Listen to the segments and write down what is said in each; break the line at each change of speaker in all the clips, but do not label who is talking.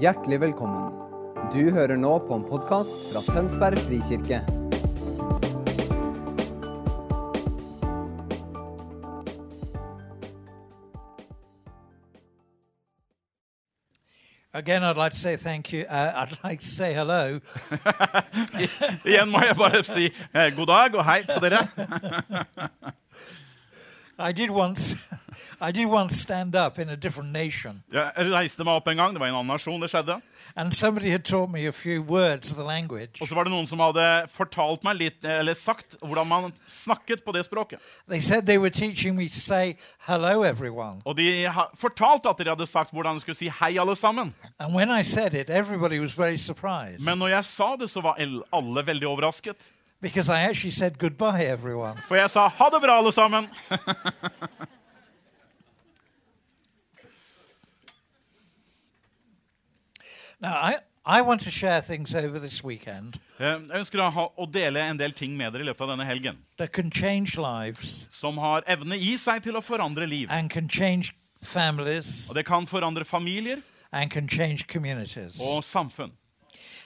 Hjertelig velkommen. Du hører nå på en podkast fra Tønsberg frikirke.
Again, I'd like to say thank you. Uh, I'd like to say hello
Igjen må jeg bare si eh, god dag og hei på dere.
I did once. I did once stand up in a different nation,
Jeg reiste meg opp en gang, det var i en annen nasjon det skjedde.
and somebody had taught me a few words of the language.
Og så var det noen som hadde fortalt meg litt, eh, eller sagt hvordan man snakket på det språket.
They said they were teaching me to say hello, everyone.
Og de ha- fortalte at de hadde sagt hvordan de skulle si hei, alle sammen.
And when I said it, everybody was very surprised
Men når jeg sa det, så var el- alle veldig overrasket.
because I actually said goodbye, everyone.
For jeg sa ha det bra, alle sammen.
Now, I, I want to share things over this weekend
Eh, Jeg ønsker å, ha, å dele en del ting med dere i løpet av denne helgen.
that can change lives
Som har evne i seg til å forandre liv.
and can change families
Og det kan forandre familier
and can change communities.
og samfunn.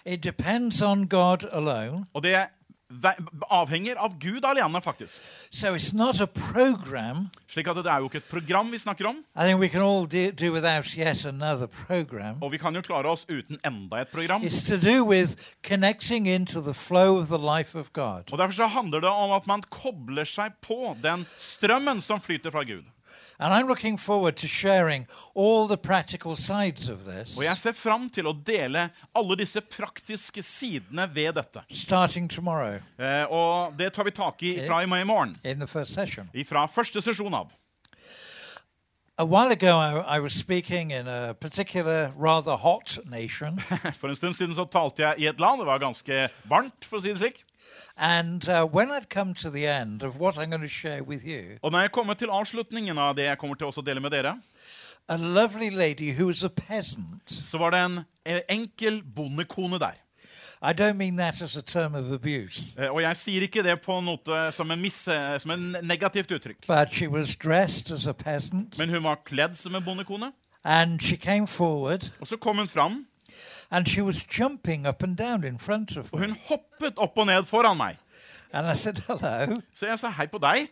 It depends on God alone.
Og det ve- avhenger av Gud alene, faktisk.
So it's not a program.
Slik at det er jo ikke et program vi snakker om,
I think we can all do, do without yet another program.
og vi kan jo klare oss uten enda et program.
It's to do with connecting into the flow of the life of God.
Og Derfor så handler det om at man kobler seg på den strømmen som flyter fra Gud.
And I'm looking forward to sharing all the practical sides of this,
Og jeg ser fram til å dele alle disse praktiske sidene ved dette.
starting tomorrow
Eh, og det tar vi tak i fra i i morgen.
in the first session.
Fra første sesjon av.
A while ago, I, I was speaking in a particular rather hot nation,
For en stund siden så talte jeg i et land. Det var ganske varmt, for å si det slik.
and uh, when I'd come to the end of what I'm going to share with you,
Og når jeg kommer til avslutningen av det jeg kommer til å også dele med dere,
a lovely lady who was a peasant.
så var det en eh, enkel bondekone der.
I don't mean that as a term of abuse,
Eh, Og jeg sier ikke det på noe som en, mis, eh, som en negativt uttrykk.
but she was dressed as a peasant
Men hun var kledd som en bondekone.
and she came forward
Og så kom hun fram,
and she was jumping up and down in front of
og
me.
hun hoppet opp og ned foran meg.
And I said, hello.
Så jeg sa hei på deg.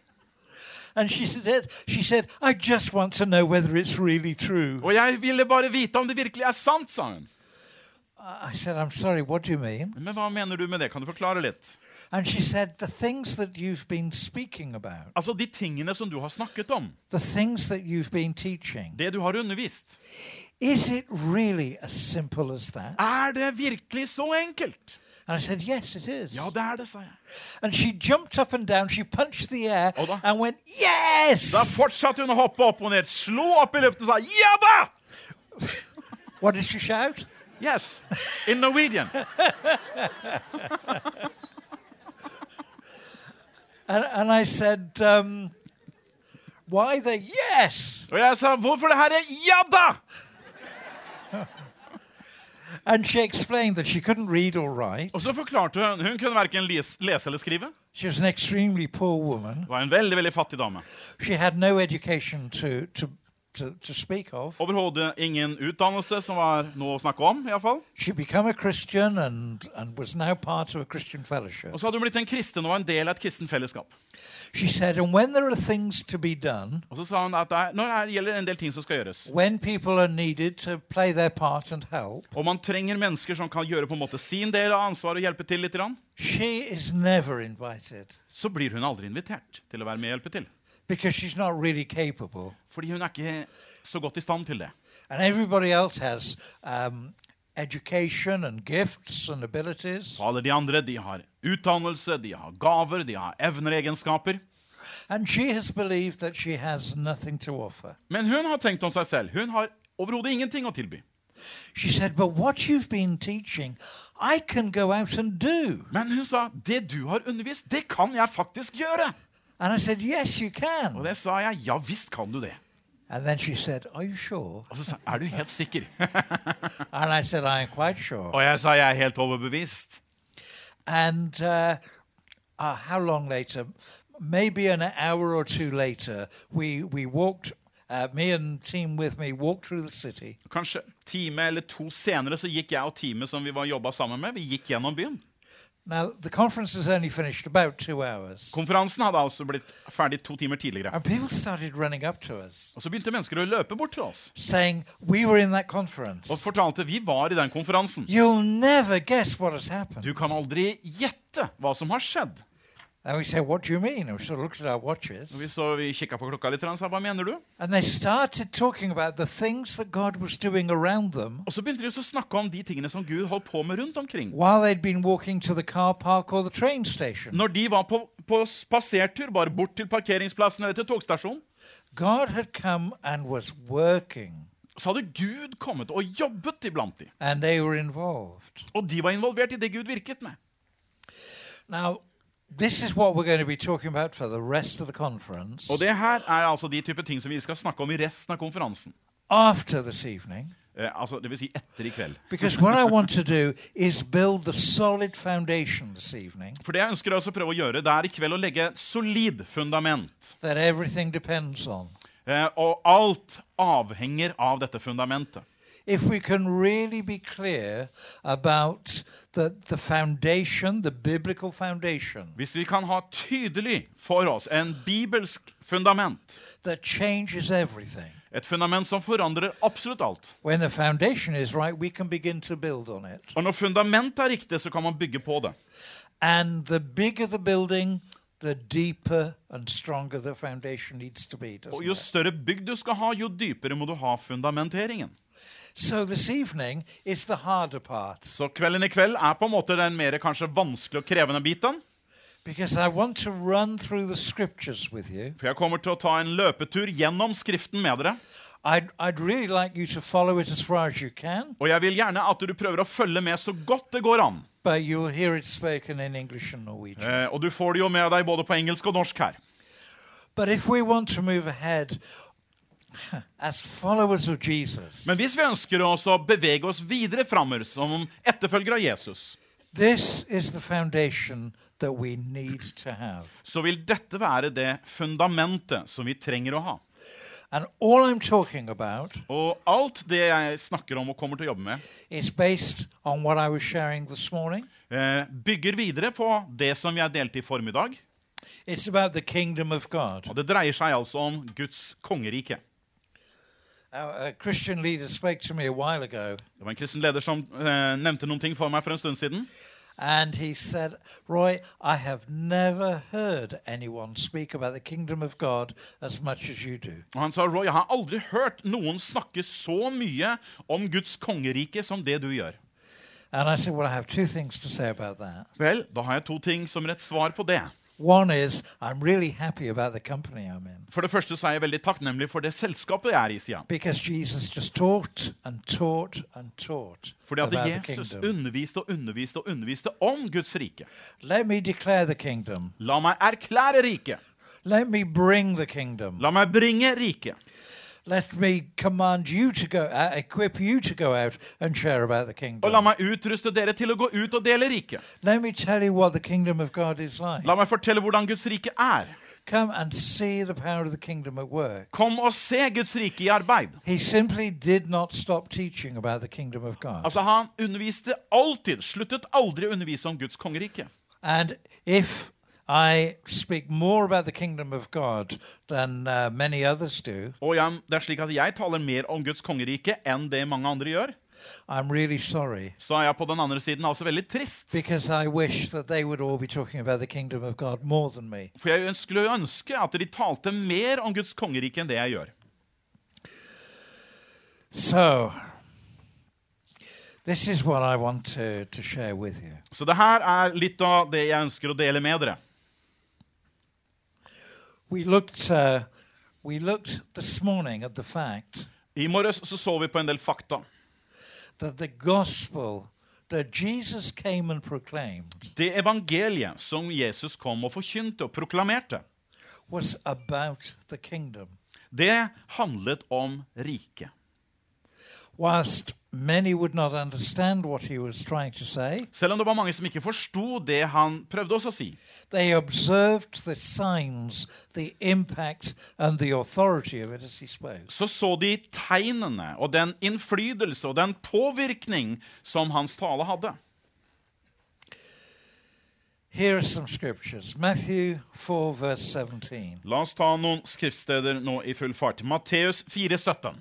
And she said, she said, I just want to know whether it's really true.
Og jeg ville bare vite om det virkelig er sant, sa hun.
I said, I'm sorry, what do you mean?
Men hva mener du med det? Kan du forklare litt?
And she said, the things that you've been speaking about,
Altså de tingene som du har snakket om.
the things that you've been teaching,
Det du har undervist.
is it really as simple as that?
Er det virkelig så enkelt?
And I said, yes, it is.
Ja, det er det, sa jeg.
And she jumped up and down, she punched the air
Hold on.
and went,
Da
Yes!
fortsatte hun å hoppe opp og ned, slo opp i luften og sa ja da!
What did she shout?
Yes. In Norwegian.
And, and I said, um, Why the yes?
Og jeg sa hvorfor det her er ja da?
And she explained that she couldn't read or write.
Og så forklarte hun Hun kunne verken les, lese eller skrive.
She was an extremely poor woman.
Var en veldig veldig fattig dame.
She had no education to, to, to, to speak of.
Overhodet ingen utdannelse, som var noe å snakke om. i alle fall.
She became a Christian and, and was now part of a Christian fellowship.
Og så hadde hun blitt en kristen og var en del av et kristen fellesskap.
She said, And when there are things to be done,
Og så sa hun at det er, nå er- gjelder en del ting som skal gjøres.
when people are needed to play their part and help,
Og man trenger mennesker som kan gjøre på en måte sin del av ansvaret og hjelpe til litt. grann.
she is never invited.
Så blir hun aldri invitert til å være med og hjelpe til.
because she's not really capable.
Fordi hun er ikke så godt i stand til det.
And everybody else has um, education and gifts and abilities.
Og alle de andre de har utdannelse, de har gaver, de har evner og egenskaper.
And she has believed that she has nothing to offer.
Men hun har tenkt om seg selv. Hun har overhodet ingenting å tilby.
She said, But what you've been teaching, I can go out and do.
Men hun sa det du har undervist, det kan jeg faktisk gjøre.
And I said, Yes, you
Og
can.
det sa jeg. Ja visst kan du det.
And then she said, Are you sure?
Og så sa er du helt sikker?
And I said, I am quite sure.
Og jeg sa jeg er helt overbevist.
And uh, uh, how long later? Maybe an hour or two later, we, we walked Uh, me and team with me walked through the city.
Kanskje time eller to senere så gikk jeg og teamet som vi var jobba sammen med, vi gikk gjennom byen.
Now, the conference has only finished about two hours,
Konferansen hadde altså blitt ferdig to timer tidligere.
and people started running up to us
Og så begynte mennesker å løpe bort til oss
saying, We were in that
og
conference.
fortalte vi var i den konferansen.
You'll never guess what has happened.
Du kan aldri gjette hva som har skjedd.
And we said, What do you mean? And we sort of looked at our
Og vi,
watches.
så- vi kikka på klokka litt og sa hva mener du?
And they started talking about the things that God was doing around them
Og så begynte de også å snakke om de tingene som Gud holdt på med rundt omkring.
while they'd been walking to the car park or the train station.
Når de var på, på spasertur, bare bort til parkeringsplassen eller til togstasjonen,
God had come and was working,
så hadde Gud kommet og jobbet iblant de.
and they were involved.
Og de var involvert i det Gud virket med.
Now, this is what we're going to be talking about for the rest of the conference
Og det her er altså de type ting som vi skal snakke om i resten av konferansen.
after this evening.
Eh, altså, det vil si etter i kveld.
Because what I want to do is build the solid foundation this evening
For det jeg ønsker altså å prøve å gjøre, det er i kveld å legge et solid fundament.
that everything depends on.
Eh, og alt avhenger av dette fundamentet.
If we can really be clear about the, the foundation, the biblical foundation,
Hvis vi kan ha tydelig for oss en bibelsk fundament,
that changes everything.
et fundament som forandrer absolutt alt
When the foundation is right, we can begin to build on it.
Og når fundamentet er riktig, så kan man bygge på det.
And the bigger the building, the deeper and stronger the foundation needs to be. doesn't
Og jo
it?
større bygg du skal ha, jo dypere må du ha fundamenteringen.
So this evening is the harder part
Så kvelden i kveld er på en måte den mer kanskje vanskelig og krevende biten.
because I want to run through the scriptures with you.
For jeg kommer til å ta en løpetur gjennom Skriften med dere.
I'd, I'd really like you to follow it as far as you can,
Og jeg vil gjerne at du prøver å følge med så godt det går an.
but you'll hear it spoken in English and Norwegian.
Eh, og du får det jo med deg både på engelsk og norsk her.
But if we want to move ahead as followers of Jesus,
Men hvis vi ønsker oss å bevege oss videre framover som etterfølgere av Jesus,
this is the foundation that we need to have.
så vil dette være det fundamentet som vi trenger å ha.
And all I'm talking about
Og alt det jeg snakker om og kommer til å jobbe med,
is based on what I was sharing this morning.
eh, bygger videre på det som jeg delte i formiddag.
It's about the kingdom of God.
Og det dreier seg altså om Guds kongerike.
Our, a Christian leader spoke to me a while ago,
Det var en kristen leder som eh, nevnte noen ting for meg for en stund siden.
and he said, Roy, I have never heard anyone speak about the kingdom of God as much as you do.
Og han sa Roy, jeg har aldri hørt noen snakke så mye om Guds kongerike som det du gjør.
And I said, Well, I have two things to say about that.
Vel, da har jeg to ting som rett svar på det.
One is, I'm really happy about the company I'm in
For det første så er jeg veldig takknemlig for det selskapet jeg er i, sier han.
because Jesus just taught and taught and taught
Fordi at
about the
Jesus
kingdom.
underviste og underviste og underviste om Guds rike.
Let me declare the kingdom.
La meg erklære riket.
Let me bring the kingdom.
La meg bringe riket.
Let me command you to go, uh, equip you to go out and share about the
Og la
kingdom.
meg utruste dere til å gå ut og dele riket.
Let me tell you what the kingdom of God is like.
La meg fortelle hvordan Guds rike er.
Come and see the power of the kingdom at work.
Kom og se Guds rike i arbeid.
He simply did not stop teaching about the kingdom of God.
Altså Han underviste alltid, sluttet aldri å undervise om Guds kongerike.
And if I speak more about the kingdom of God than uh, many others do,
Og jeg, det er slik at jeg taler mer om Guds kongerike enn det mange andre gjør.
I'm really sorry
Så er jeg på den andre siden altså veldig trist.
because I wish that they would all be talking about the kingdom of God more than me.
For jeg skulle jo ønske at de talte mer om Guds kongerike enn det jeg gjør.
So, this is what I want to, to share with you.
Så det her er litt av det jeg ønsker å dele med dere.
We looked, uh, we looked this morning at the fact
I morges så, så vi på en del fakta.
that the gospel that Jesus came and proclaimed
Det evangeliet som Jesus kom og forkynte og proklamerte,
was about the kingdom.
det handlet om riket.
Whilst many would not understand what he was trying to say,
Selv om det var mange som ikke forsto det han prøvde også å si.
they observed the signs, the impact, and the authority of it as he spoke.
så så de tegnene og den innflytelse og den påvirkning som hans tale hadde.
Here are some scriptures Matthew 4, verse 17.
La oss ta noen skriftsteder nå i full fart. Matteus 4,17.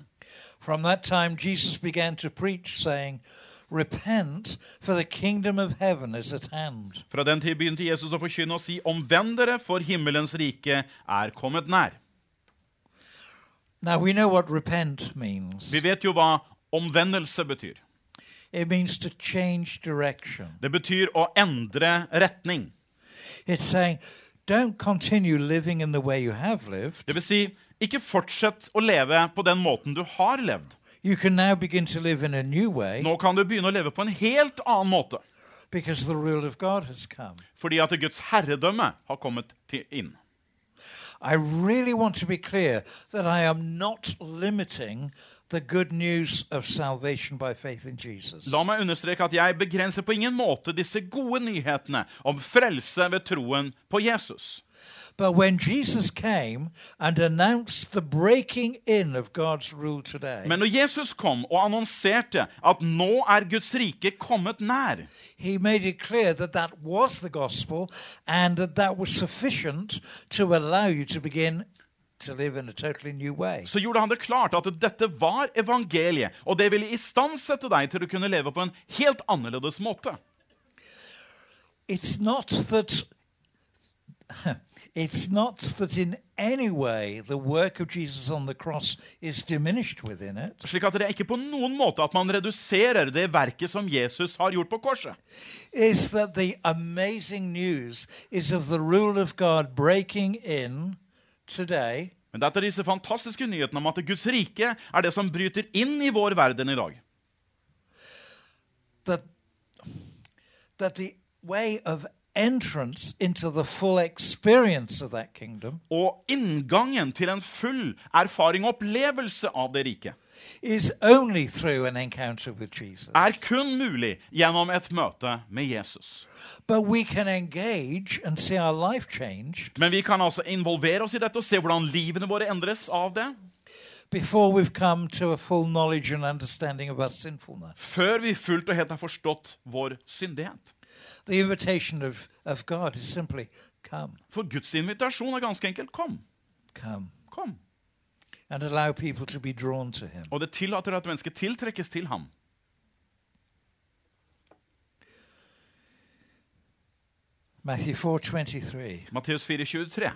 From that time, Jesus began to preach, saying, Repent, for the kingdom of heaven is at hand.
Fra den tid begynte Jesus å forkynne og si, omvend dere, for himmelens rike er kommet nær.
Now, we know what repent means
Vi vet jo hva omvendelse betyr.
it means to change direction.
Det betyr å endre retning.
It's saying, don't continue living in the way you have lived.
Det vil si, ikke fortsett å leve på den måten du har levd.
You can now begin to live in a new way
Nå kan du begynne å leve på en helt annen måte,
because the rule of God has come.
fordi at Guds herredømme har kommet til- inn.
I really want to be clear that I am not limiting the good news of salvation by faith in Jesus.
La meg understreke at jeg begrenser på ingen måte disse gode nyhetene om frelse ved troen på Jesus.
But when Jesus came and announced the breaking in of God's rule today,
Men når Jesus kom og annonserte at nå er Guds rike kommet nær,
he made it clear that that was the gospel and that that was sufficient to allow you to begin to live in a totally new way.
så gjorde han det klart at dette var evangeliet, og det ville istandsette deg til å kunne leve på en helt annerledes måte.
It's not that. It's not that in any way the work of Jesus on the cross is diminished within it.
Slik at det er ikke på noen måte at man reduserer det verket som Jesus har gjort på korset.
It's that the amazing news is of the rule of God breaking in today
Men det er disse fantastiske nyhetene om at Guds rike er det som bryter inn i vår verden i dag.
that that the way of entrance into the full experience of that kingdom
Og inngangen til en full erfaring og opplevelse av det riket
is only through an encounter with Jesus.
er kun mulig gjennom et møte med Jesus.
But we can engage and see our life changed
Men vi kan altså involvere oss i dette og se hvordan livene våre endres av det,
before we've come to a full knowledge and understanding of our sinfulness.
før vi fullt og helt har forstått vår syndighet.
The invitation of, of God is simply come,
For Guds invitasjon er ganske enkelt kom.
come,
Kom.
and allow people to be drawn to Him.
Og det tillater at mennesket tiltrekkes til ham.
Matthew 4:23.
Matteus 4,23.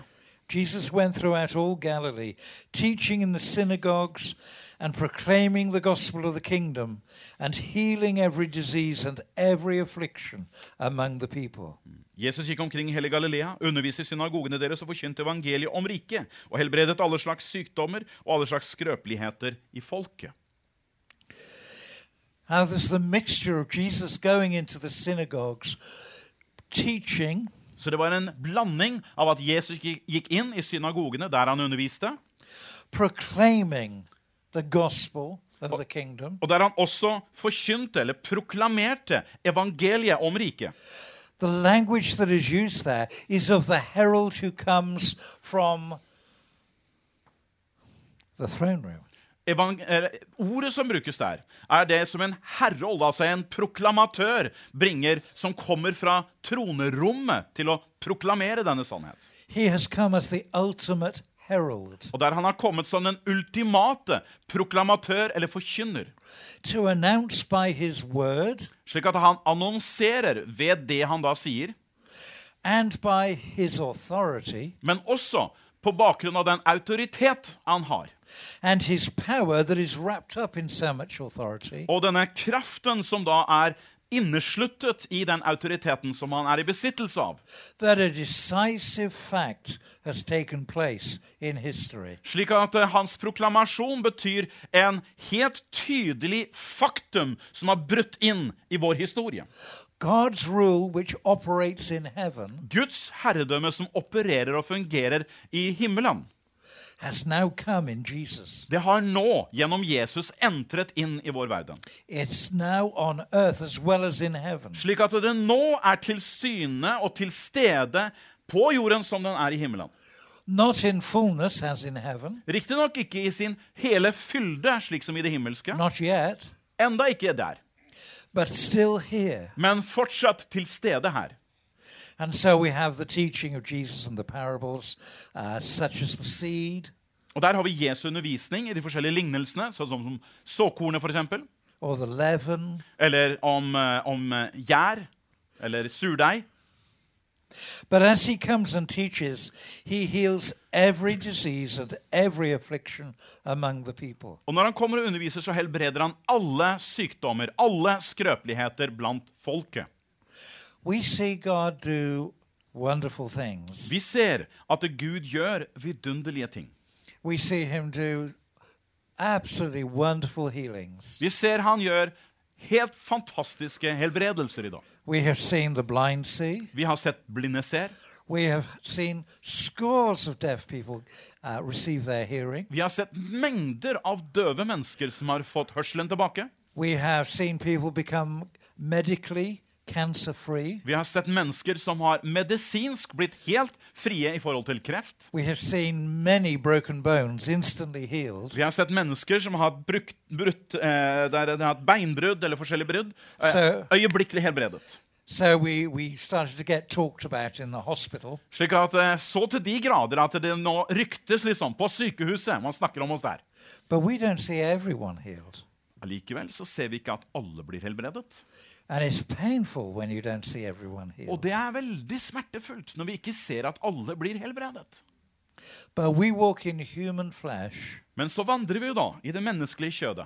Jesus went throughout all Galilee, teaching in the synagogues and proclaiming the gospel of the kingdom and healing every disease and every affliction among the people.
Jesus gikk omkring i hele Galilea, underviste i synagogene deres og forkynte evangeliet om riket, og helbredet alle slags sykdommer og alle slags skrøpeligheter i folket.
Now, there's the mixture of Jesus going into the synagogues, teaching,
Så det var en blanding av at Jesus gikk gikk inn i synagogene der han underviste,
proclaiming the gospel of the kingdom,
og der han også forkynte eller proklamerte evangeliet om riket.
the language that is used there is of the herald who comes from the throne room.
Evang eller, ordet som brukes der, er det som en herrold, altså en proklamatør, bringer som kommer fra tronerommet til å proklamere denne sannhet.
He has come as the ultimate herald
Og der han har kommet som den ultimate proklamatør eller forkynner.
to announce by his word
Slik at han annonserer ved det han da sier,
and by his authority
men også på bakgrunn av den autoritet han har.
and his power that is wrapped up in so much authority
Og denne kraften som da er innesluttet i den autoriteten som han er i besittelse av.
that a decisive fact has taken place in history.
Slik at eh, hans proklamasjon betyr en helt tydelig faktum som har brutt inn i vår historie.
God's rule, which operates in heaven,
Guds herredømme som opererer og fungerer i himmelen,
has now come in Jesus.
Det har nå, gjennom Jesus, entret inn i vår verden.
It's now on earth as well as in heaven.
Slik at det nå er til syne og til stede på jorden som den er i himmelen.
Not in fullness as in heaven,
Riktignok ikke i sin hele fylde, slik som i det himmelske.
not yet,
Enda ikke der,
but still here.
men fortsatt til stede her.
And so we have the teaching of Jesus and the parables, uh, such as the seed
Og Der har vi Jesu undervisning i de forskjellige lignelsene, sånn som som såkornet f.eks.,
or the leaven.
eller om, eh, om eh, gjær, eller surdeig.
But as he comes and teaches, he heals every disease and every affliction among the people.
Og når han kommer og underviser, så helbreder han alle sykdommer, alle skrøpeligheter blant folket.
We see God do wonderful things.
Vi ser at Gud gjør vidunderlige ting.
We see him do absolutely wonderful healings.
Vi ser han gjør helt fantastiske helbredelser i dag.
We have seen the blind see.
Vi har sett blinde ser.
We have seen scores of deaf people uh, receive their hearing.
Vi har sett mengder av døve mennesker som har fått hørselen tilbake.
We have seen people become medically cancer free.
Vi har sett mennesker som har medisinsk blitt helt frie i forhold til kreft.
We have seen many broken bones instantly healed,
Vi har sett mennesker som har hatt brukt, brutt, eh, der de har hatt beinbrudd eller forskjellige brudd. Eh,
Så-
øyeblikkelig helbredet.
so we, we started to get talked about in the hospital.
Slik at eh, Så til de grader at det nå ryktes liksom på sykehuset. Man snakker om oss der.
But we don't see everyone healed.
Allikevel så ser vi ikke at alle blir helbredet.
And it's painful when you don't see everyone
Og
healed.
det er veldig smertefullt når vi ikke ser at alle blir helbredet.
But we walk in human flesh
Men så vandrer vi jo da i det menneskelige kjødet,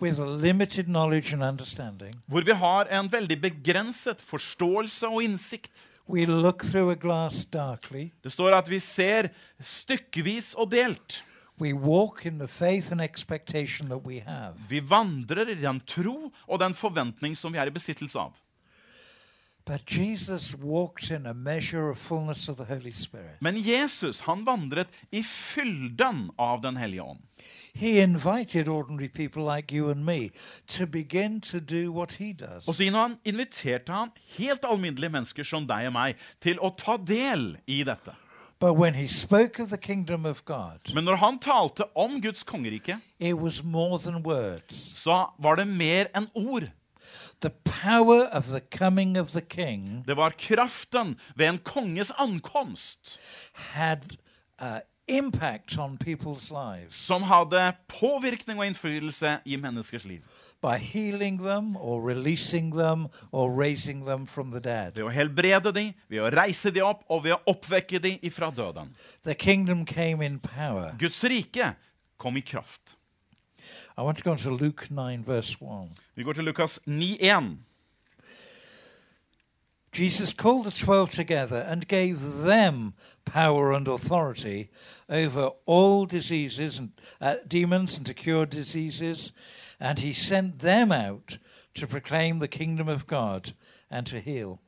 with a limited knowledge and understanding.
hvor vi har en veldig begrenset forståelse og innsikt.
We look through a glass darkly.
Det står at vi ser stykkevis og delt.
We walk in the faith and expectation that we have.
Vi vandrer i den tro og den forventning som vi er i besittelse av.
But Jesus walked in a measure of fullness of the Holy Spirit.
Men Jesus han vandret i fylden av Den hellige ånd.
He invited ordinary people like you and me to begin to do what he does.
Og siden han inviterte han helt alminnelige mennesker som deg og meg til å ta del i dette.
But when he spoke of the kingdom of God,
Men når han talte om Guds kongerike,
it was more than words.
så var det mer enn ord.
The power of the coming of the king
Det var kraften ved en konges ankomst
had uh, impact on people's lives
som hadde påvirkning og innflytelse i menneskers liv.
by healing them or releasing them or raising them from the dead.
Ved å helbrede dem, ved å reise dem opp og ved å oppvekke dem ifra døden.
The kingdom came in power.
Guds rike kom i kraft.
I want to go on to Luke 9, verse 1.
Vi går til Lukas 9,1.
Jesus called the twelve together and gave them power and authority over all diseases and uh, demons and to cure diseases, and he sent them out to proclaim the kingdom of God and to heal.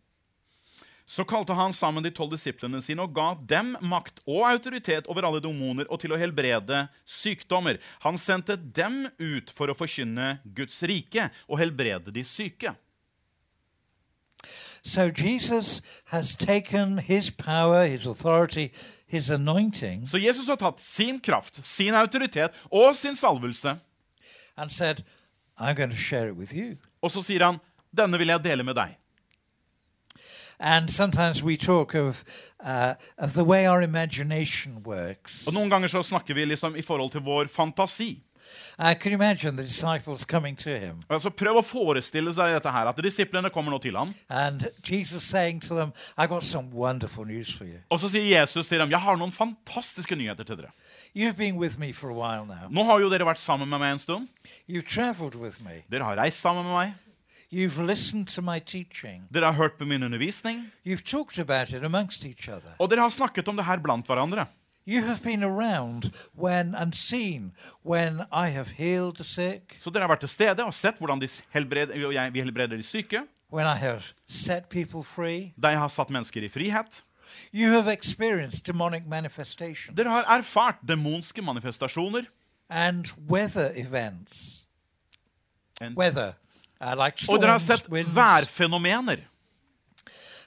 Så kalte han sammen de tolv disiplene sine og ga dem makt og autoritet over alle demoner og til å helbrede sykdommer. Han sendte dem ut for å forkynne Guds rike og helbrede de syke.
So Jesus has taken his power, his authority, his anointing,
Så Jesus har tatt sin kraft, sin autoritet og sin salvelse,
and said, I'm going to share it with you.
og så sier han, 'Denne vil jeg dele med deg'.
And sometimes we talk of, uh, of the way our imagination works.
Og Noen ganger så snakker vi liksom i forhold til vår fantasi.
I Uh, can imagine the disciples coming to him
Altså Prøv å forestille seg dette her, at disiplene kommer nå til ham,
and Jesus saying to them, I got some wonderful news for you.
og så sier Jesus til dem, 'Jeg har noen fantastiske nyheter til dere'.
You've been with me for a while now.
Nå har jo dere vært sammen med meg en stund.
You've traveled with me.
Dere har reist sammen med meg.
You've listened to my teaching.
Dere har hørt på min undervisning,
You've talked about it amongst each other.
og dere har snakket om det her blant hverandre.
You have been around when and seen when I have healed the sick,
Så dere har vært til stede og sett hvordan de helbreder, og jeg, vi helbreder de syke.
when I have set people free,
De har satt mennesker i frihet.
You have experienced demonic manifestation
Dere har erfart demonske manifestasjoner.
and weather events.
And-
weather, uh, like
Og dere har
storms,
sett
winds.
værfenomener.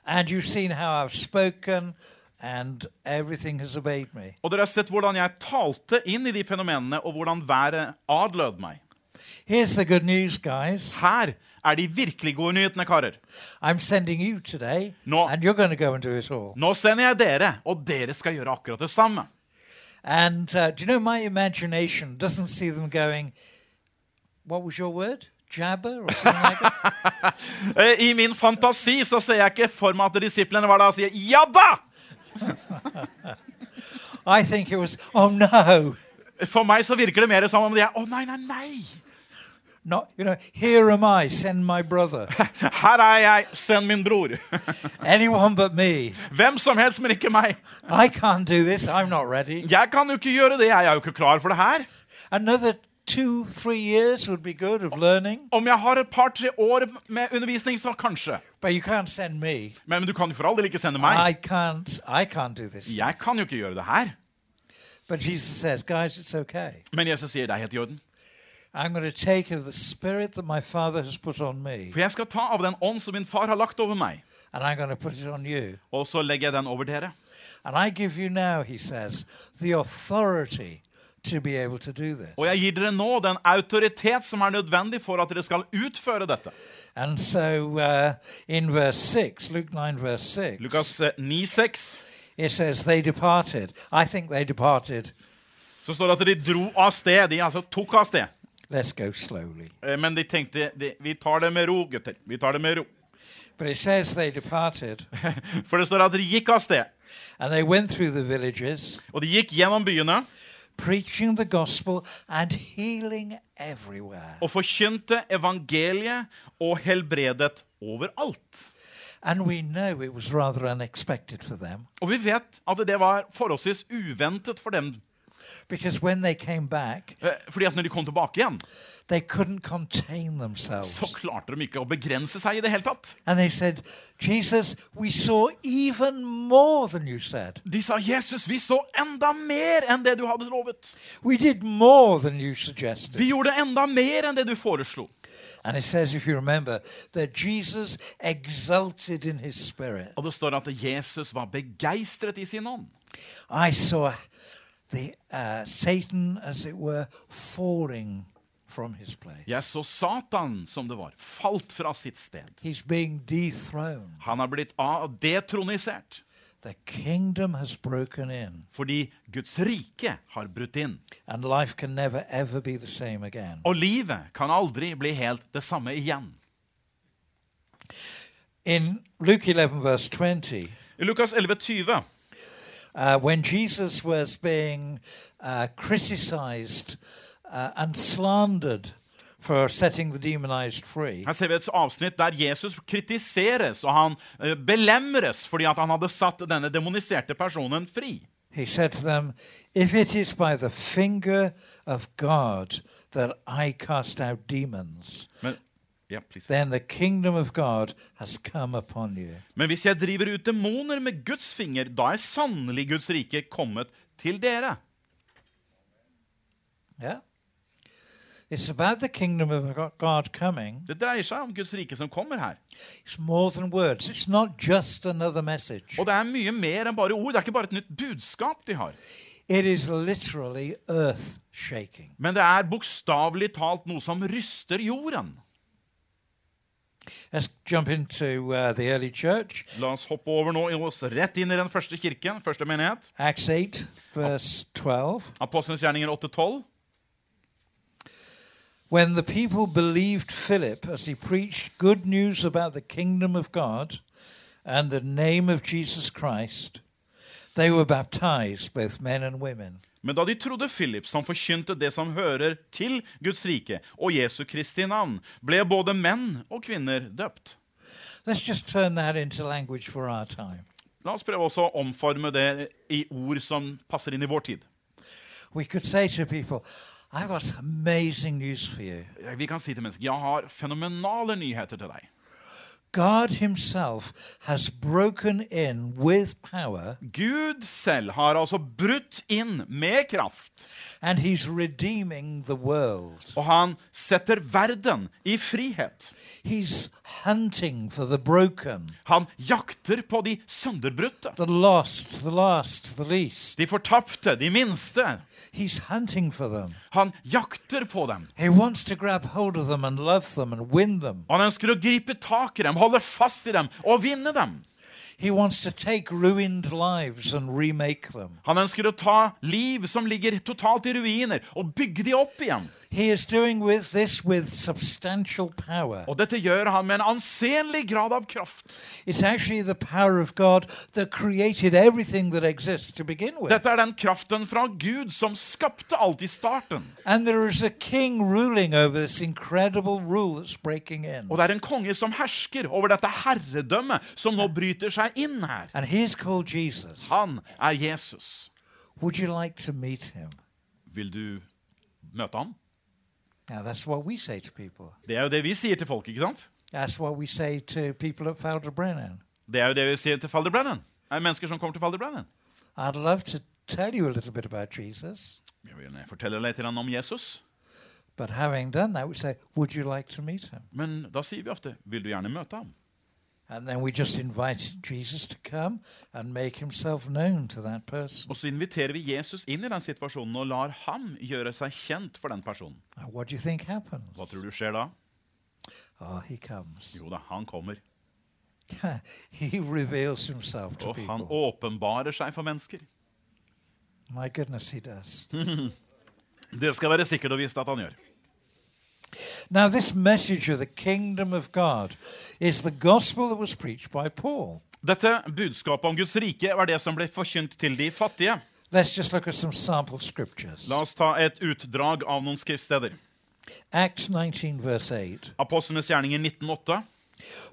And you've seen how I've spoken, and everything has obeyed me.
Og dere har sett hvordan jeg talte inn i de fenomenene, og hvordan været adlød meg.
Here's the good news, guys.
Her er de virkelig gode nyhetene, karer.
I'm sending you today,
No.
and you're going to go and do it all.
Nå sender jeg dere, og dere skal gjøre akkurat det samme.
And uh, do you know, my imagination doesn't see them going, what was your word? Jabber or something like that?
Eh, I min fantasi så ser jeg ikke for meg at disiplene var der og sier 'ja da'.
I think it was, oh no,
For meg så virker det mer som om de er 'å, nei, nei, nei'.
not, you know, here am I, send my brother.
Her er jeg, send min bror.
Anyone but me.
Hvem som helst, men ikke meg.
I can't do this, I'm not ready.
Jeg kan jo ikke gjøre det, jeg er jo ikke klar for det her.
Another two, three years would be good of learning,
Om jeg har et par-tre år med undervisning, så kanskje.
but you can't send me.
Men, men du kan jo for all del ikke sende meg.
I can't, I can't do this.
Jeg kan jo ikke gjøre det her.
But Jesus says, guys, it's okay.
Men Jesus sier det er helt i orden.
I'm going to take of the spirit that my Father has put on me,
For jeg skal ta av den ånd som min far har lagt over meg,
and I'm going to put it on you.
og så legger jeg den over dere.
And I give you now, he says, the authority to be able to do this.
Og jeg gir dere nå den autoritet som er nødvendig for at dere skal utføre dette.
And so uh, in verse 6, Luke 9, verse 6,
Lukas eh, 9,6
it says, They departed. I think they departed.
så står det at de dro av sted. De altså tok av sted.
Let's go slowly.
Eh, Men de tenkte de, vi tar det med ro, gutter. Vi tar det med ro.
But it says they departed,
For det står at de gikk av sted.
and they went through the villages,
Og de gikk gjennom byene
preaching the gospel and healing everywhere.
og forkynte evangeliet og helbredet overalt.
And we know it was rather unexpected for them
Og vi vet at det var forholdsvis uventet for dem.
because when they came back,
eh, Fordi at når de kom tilbake igjen,
they couldn't contain
så
themselves.
klarte de ikke å begrense seg i det hele tatt.
And they said, Jesus, we saw even more than you said.
De sa, 'Jesus, vi så enda mer enn det du hadde lovet.'
We did more than you suggested.
Vi gjorde enda mer enn det du foreslo.
And it says, if you remember, that Jesus exulted in his spirit.
Og det står at Jesus var begeistret i sin ånd.
I saw the uh, Satan, as it were, falling from his place.
Jeg så Satan, som det var, falt fra sitt sted.
He's being dethroned.
Han har blitt av- detronisert
The kingdom has broken in.
fordi Guds rike har brutt inn.
and life can never ever be the same again.
Og livet kan aldri bli helt det samme igjen.
In Luke 11, verse 20,
I Lukas 11,20
uh, when Jesus was being uh, criticized uh, and slandered for setting the demonized free,
her ser vi et avsnitt der Jesus kritiseres og han eh, belemres fordi at han hadde satt denne demoniserte personen fri.
he said to them, If it is by the finger of God that I cast out demons,
Men, ja, please.
then the kingdom of God has come upon you.
Men hvis jeg driver ut demoner med Guds finger, da er sannelig Guds rike kommet til dere.
Yeah? It's about the kingdom of Go- God coming.
Det dreier seg om Guds rike som kommer her.
It's more than words. It's not just another message.
Og det er mye mer enn bare ord. Det er ikke bare et nytt budskap de har.
It is literally earth shaking.
Men det er bokstavelig talt noe som ryster jorden.
Let's jump into uh, the early church.
La oss hoppe over nå i oss rett inn i den første kirken, første menighet.
Acts 8, verse 12.
Apostelens gjerninger 8-12.
When the people believed Philip as he preached good news about the kingdom of God and the name of Jesus Christ, they were baptized, both men and women.
Men da de trodde Philip, som forkynte det som hører til Guds rike, og Jesu Kristi navn, ble både menn og kvinner døpt.
Let's just turn that into language for our time.
La oss prøve også å omforme det i ord som passer inn i vår tid.
We could say to people, I've got amazing news for you.
Vi kan si til mennesker jeg har fenomenale nyheter til deg.
God Himself has broken in with power
Gud selv har altså brutt inn med kraft,
and He's redeeming the world.
og han setter verden i frihet.
He's hunting for the broken,
Han jakter på de sønderbrutte,
the lost, the last, the least.
de fortapte, de minste.
He's hunting for them.
Han jakter på dem.
He wants to grab hold of them and love them and win them.
Han ønsker å gripe tak i dem, holde fast i dem og vinne dem.
He wants to take ruined lives and remake them.
Han ønsker å ta liv som ligger totalt i ruiner, og bygge de opp igjen.
He is doing with this with substantial power.
Og dette gjør han med en ansenlig grad av kraft.
It's actually the power of God that created everything that exists to begin with.
Dette er den kraften fra Gud som skapte alt i starten.
And there is a king ruling over this incredible rule that's breaking in.
Og det er en konge som hersker over dette herredømmet som nå bryter seg inn her.
And he is called Jesus.
Han er Jesus.
Would you like to meet him?
Vil du møte ham?
Now, that's what we say to people.
Det er jo det vi sier til folk, ikke sant?
That's what we say to people at Felder Brennan.
Det er jo det vi sier til Falder Brennan. Det er mennesker som kommer til Falder Brennan.
I'd love to tell you a little bit about Jesus,
Jeg vil gjerne fortelle litt til han om Jesus,
but having done that, we say, Would you like to meet him?
men da sier vi ofte 'Vil du gjerne møte ham?'
And then we just invite Jesus to come and make himself known to that person.
Og så inviterer vi Jesus inn i den situasjonen og lar ham gjøre seg kjent for den personen.
Now, what do you think
Hva
happens?
tror du skjer da?
Oh, he comes.
Jo da, han kommer.
he reveals himself to
Og Oh, han
people.
åpenbarer seg for mennesker.
My goodness, he does.
Det skal være sikkert og visst at han gjør.
Now, this message of the kingdom of God is the gospel that was preached by Paul.
Dette budskapet om Guds rike var det som ble forkynt til de fattige.
Let's just look at some sample scriptures.
La oss ta et utdrag av noen skriftsteder.
Acts 19, verse 8.
Apostlenes gjerninger 1908.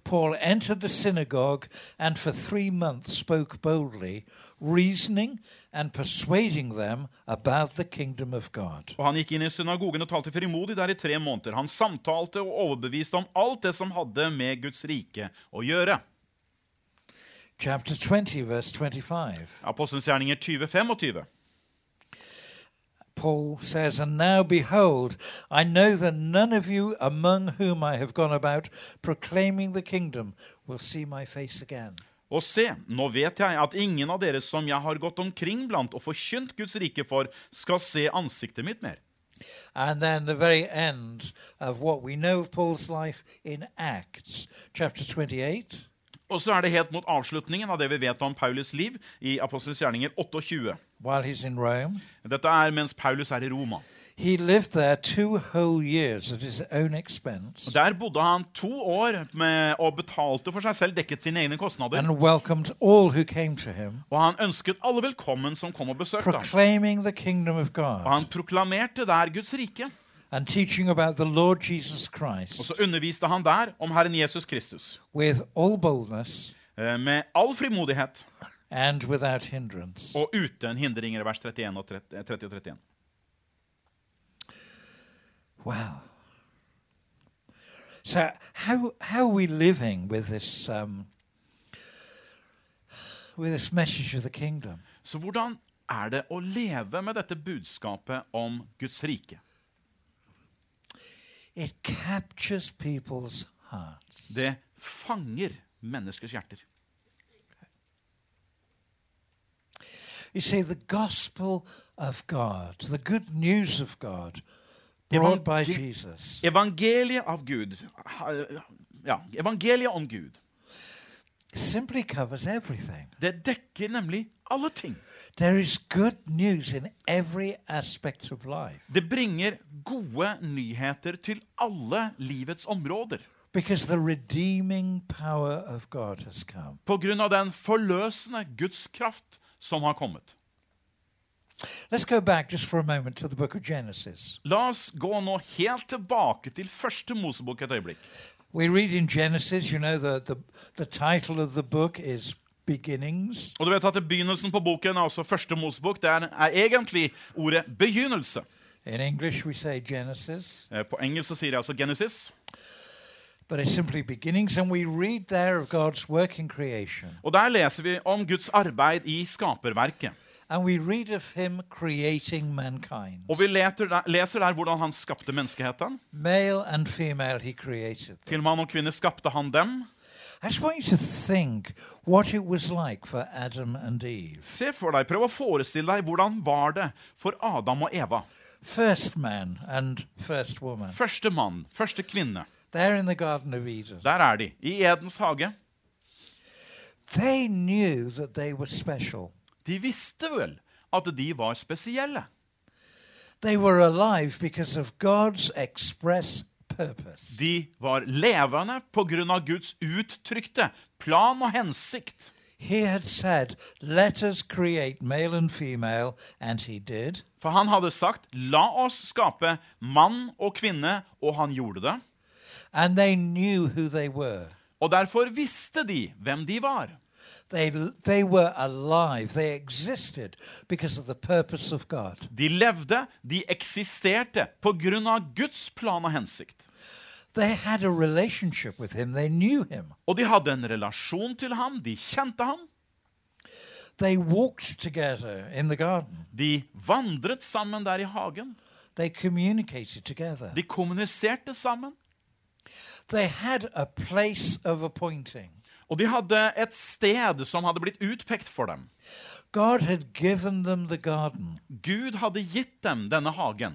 Paul entered the synagogue and for three months spoke boldly, reasoning and persuading them about the kingdom of God.
Og Han gikk inn i synagogen og talte frimodig der i tre måneder. Han samtalte og overbeviste om alt det som hadde med Guds rike å gjøre.
Chapter 20, verse 25.
Apostlenes gjerninger 2025.
Paul says, And now behold, I know that none of you among whom I have gone about proclaiming the kingdom will see my face again.
Og se, nå vet jeg at ingen av dere som jeg har gått omkring blant og forkynt Guds rike for, skal se ansiktet mitt mer.
And then the very end of what we know of Paul's life in Acts, chapter 28.
Og så er det helt mot avslutningen av det vi vet om Paulus' liv i Apostlenes gjerninger 28.
While he's in Rome,
Dette er mens Paulus er i Roma.
He lived there two whole years at his own expense
Der bodde han to år med, og betalte for seg selv, dekket sine egne kostnader.
and welcomed all who came to him,
Og han ønsket alle velkommen som kom og besøkte ham.
proclaiming the kingdom of
Og han
God
proklamerte der Guds rike.
and teaching about the Lord Jesus
Og
Christ
så underviste han der om Herren Jesus Kristus.
with all boldness
eh, Med all frimodighet
and without hindrance.
og uten hindringer, i vers 31 og 30 eh, 30 og 31.
Wow. So, how, how are we living with this, um, with this message of the kingdom?
Så hvordan er det å leve med dette budskapet om Guds rike?
It captures people's hearts.
Det fanger menneskers hjerter.
You see, the gospel of God, the good news of God,
Evangel-
brought by Jesus,
Evangeliet av Gud ha- Ja, evangeliet om Gud.
simply covers everything.
Det dekker nemlig alle ting.
There is good news in every aspect of life
Det bringer gode nyheter til alle livets områder.
because the redeeming power of God has come.
På grunn av den forløsende Guds kraft som har kommet.
Let's go back just for a moment to the book of Genesis.
La oss gå nå helt tilbake til første Mosebok et øyeblikk.
We read in Genesis, you know, the, the, the title of the book is Beginnings.
Og du vet at det Begynnelsen på boken er også første Mosebok. Det er, er egentlig ordet 'begynnelse'.
In English, we say Genesis.
Eh, På engelsk så sier jeg altså Genesis.
but it's simply beginnings. And we read there of God's work in creation.
Og Der leser vi om Guds arbeid i skaperverket.
And we read of him creating mankind.
Og vi leter der, leser der hvordan han skapte menneskeheten.
Male and female, he created them.
Til mann og kvinne skapte han dem.
I just want you to think what it was like for Adam and Eve.
Se for deg, Prøv å forestille deg hvordan var det for Adam og Eva.
First man and first woman.
Første mann, første kvinne.
They're in the Garden of Eden.
Der er de, i Edens hage.
They knew that they were special.
De visste vel at de var spesielle.
They were alive because of God's express purpose.
De var levende pga. Guds uttrykte plan og hensikt.
He had said, Let us create male and female, and he did.
For han hadde sagt 'la oss skape mann og kvinne', og han gjorde det.
And they knew who they were.
Og derfor visste de hvem de var.
They, they were alive. They existed because of the purpose of God.
De levde, de eksisterte pga. Guds plan og hensikt.
They had a relationship with him. They knew him.
Og de hadde en relasjon til ham, de kjente ham.
They walked together in the garden.
De vandret sammen der i hagen.
They communicated together.
De kommuniserte sammen.
They had a place of appointing.
Og de hadde et sted som hadde blitt utpekt for dem.
God had given them the garden.
Gud hadde gitt dem denne hagen.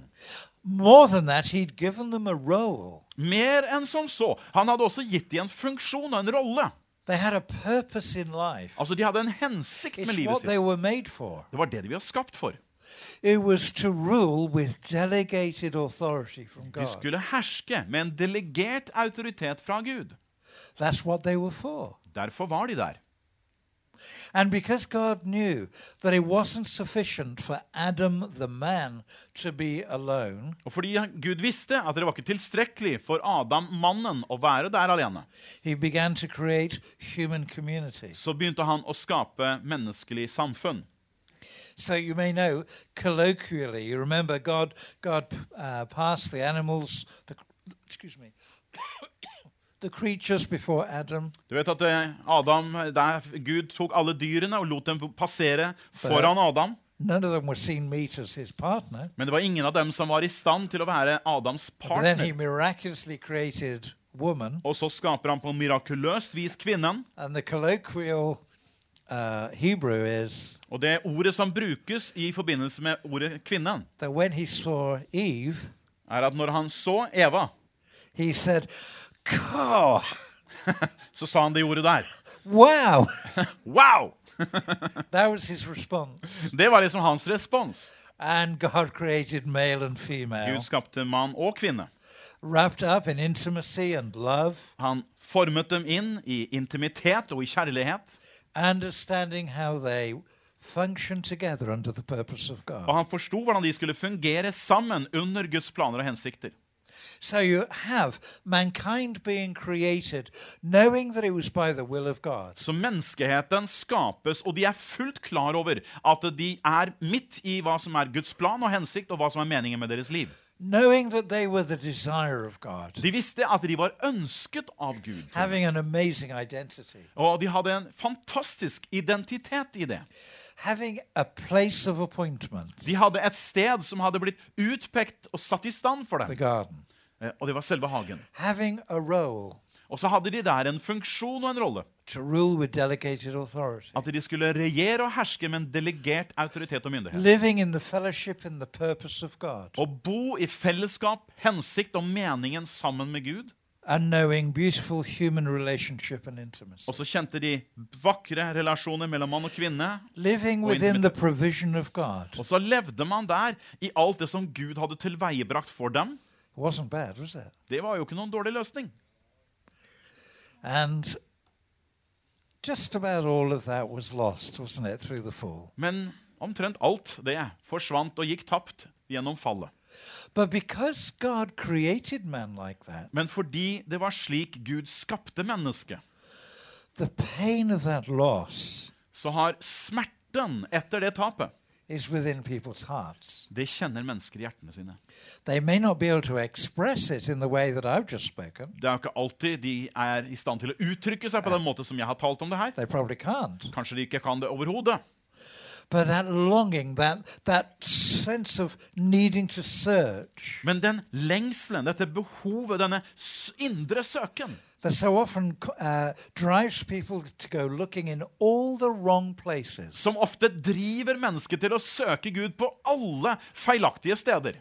More than that, he'd given them a role.
Mer enn som så. Han hadde også gitt dem en funksjon og en rolle.
They had a purpose in life.
Altså, De hadde en hensikt med
It's
livet
what
sitt.
they were made for.
Det var det de var skapt for.
It was to rule with delegated authority from
De
God.
skulle herske med en delegert autoritet fra Gud.
That's what they were for.
Derfor var de der.
And because God knew that it wasn't sufficient for Adam the man to be alone,
Og fordi Gud visste at det var ikke tilstrekkelig for Adam, mannen, å være der alene,
he began to create human communities.
så begynte han å skape menneskelig samfunn.
So you may know colloquially, you remember God, God uh, passed the animals, the, excuse me, the creatures before Adam,
Du vet at eh, Adam, der Gud tok alle dyrene og lot dem passere foran Adam.
None of them were seen meet as his partner.
Men det var ingen av dem som var i stand til å være Adams
But then he
partner.
miraculously created woman,
Og så skaper han på mirakuløst vis kvinnen.
and the colloquial uh, Hebrew is
Og det ordet som brukes i forbindelse med ordet kvinnen,
that when he saw Eve,
er at når han så Eva,
he said, "Cow,
så sa han det ordet der.
wow!"
Wow!
that was his response.
Det var liksom hans respons.
And God created male and female,
Gud skapte mann og kvinne.
wrapped up in intimacy and love,
Han formet dem inn i intimitet og i kjærlighet.
understanding how they function together under the purpose of God.
Og han forsto hvordan de skulle fungere sammen under Guds planer og hensikter.
So you have mankind being created, knowing that it was by the will of God.
Så menneskeheten skapes, og de er fullt klar over at de er midt i hva som er Guds plan og hensikt, og hva som er meningen med deres liv.
knowing that they were the desire of God,
De visste at de var ønsket av Gud,
having an amazing identity,
og de hadde en fantastisk identitet i det.
having a place of appointment,
De hadde et sted som hadde blitt utpekt og satt i stand for
the
dem,
garden,
Eh, og det var selve hagen.
having a role
Og så hadde de der en funksjon og en rolle.
to rule with delegated authority,
At de skulle regjere og herske med en delegert autoritet og myndighet.
living in the fellowship and the purpose of God,
Å bo i fellesskap, hensikt og meningen sammen med Gud.
and knowing beautiful human relationship and intimacy,
Og så kjente de vakre relasjoner mellom mann og kvinne.
living
Or in the
within the
middle.
provision of God. It
Og så levde man der i alt det som Gud hadde tilveiebrakt for dem.
wasn't bad, was it?
Det var jo ikke noen dårlig løsning.
And just about all of that was lost, wasn't it, through the fall?
Men omtrent alt det forsvant og gikk tapt gjennom fallet.
But because God created man like that,
Men fordi det var slik Gud skapte mennesket,
the pain of that loss
så har smerten etter det tapet
is within people's hearts.
Det kjenner mennesker i hjertene sine.
They may not be able to express it in the way that I've just spoken.
Det er jo ikke alltid de er i stand til å uttrykke seg på den måten som jeg har talt om det her.
They probably can't.
Kanskje de ikke kan det overhodet.
But that longing, that, that sense of needing to search,
Men den lengselen, dette behovet, denne s- indre søken,
that so often uh, drives people to go looking in all the wrong places.
som ofte driver mennesket til å søke Gud på alle feilaktige steder,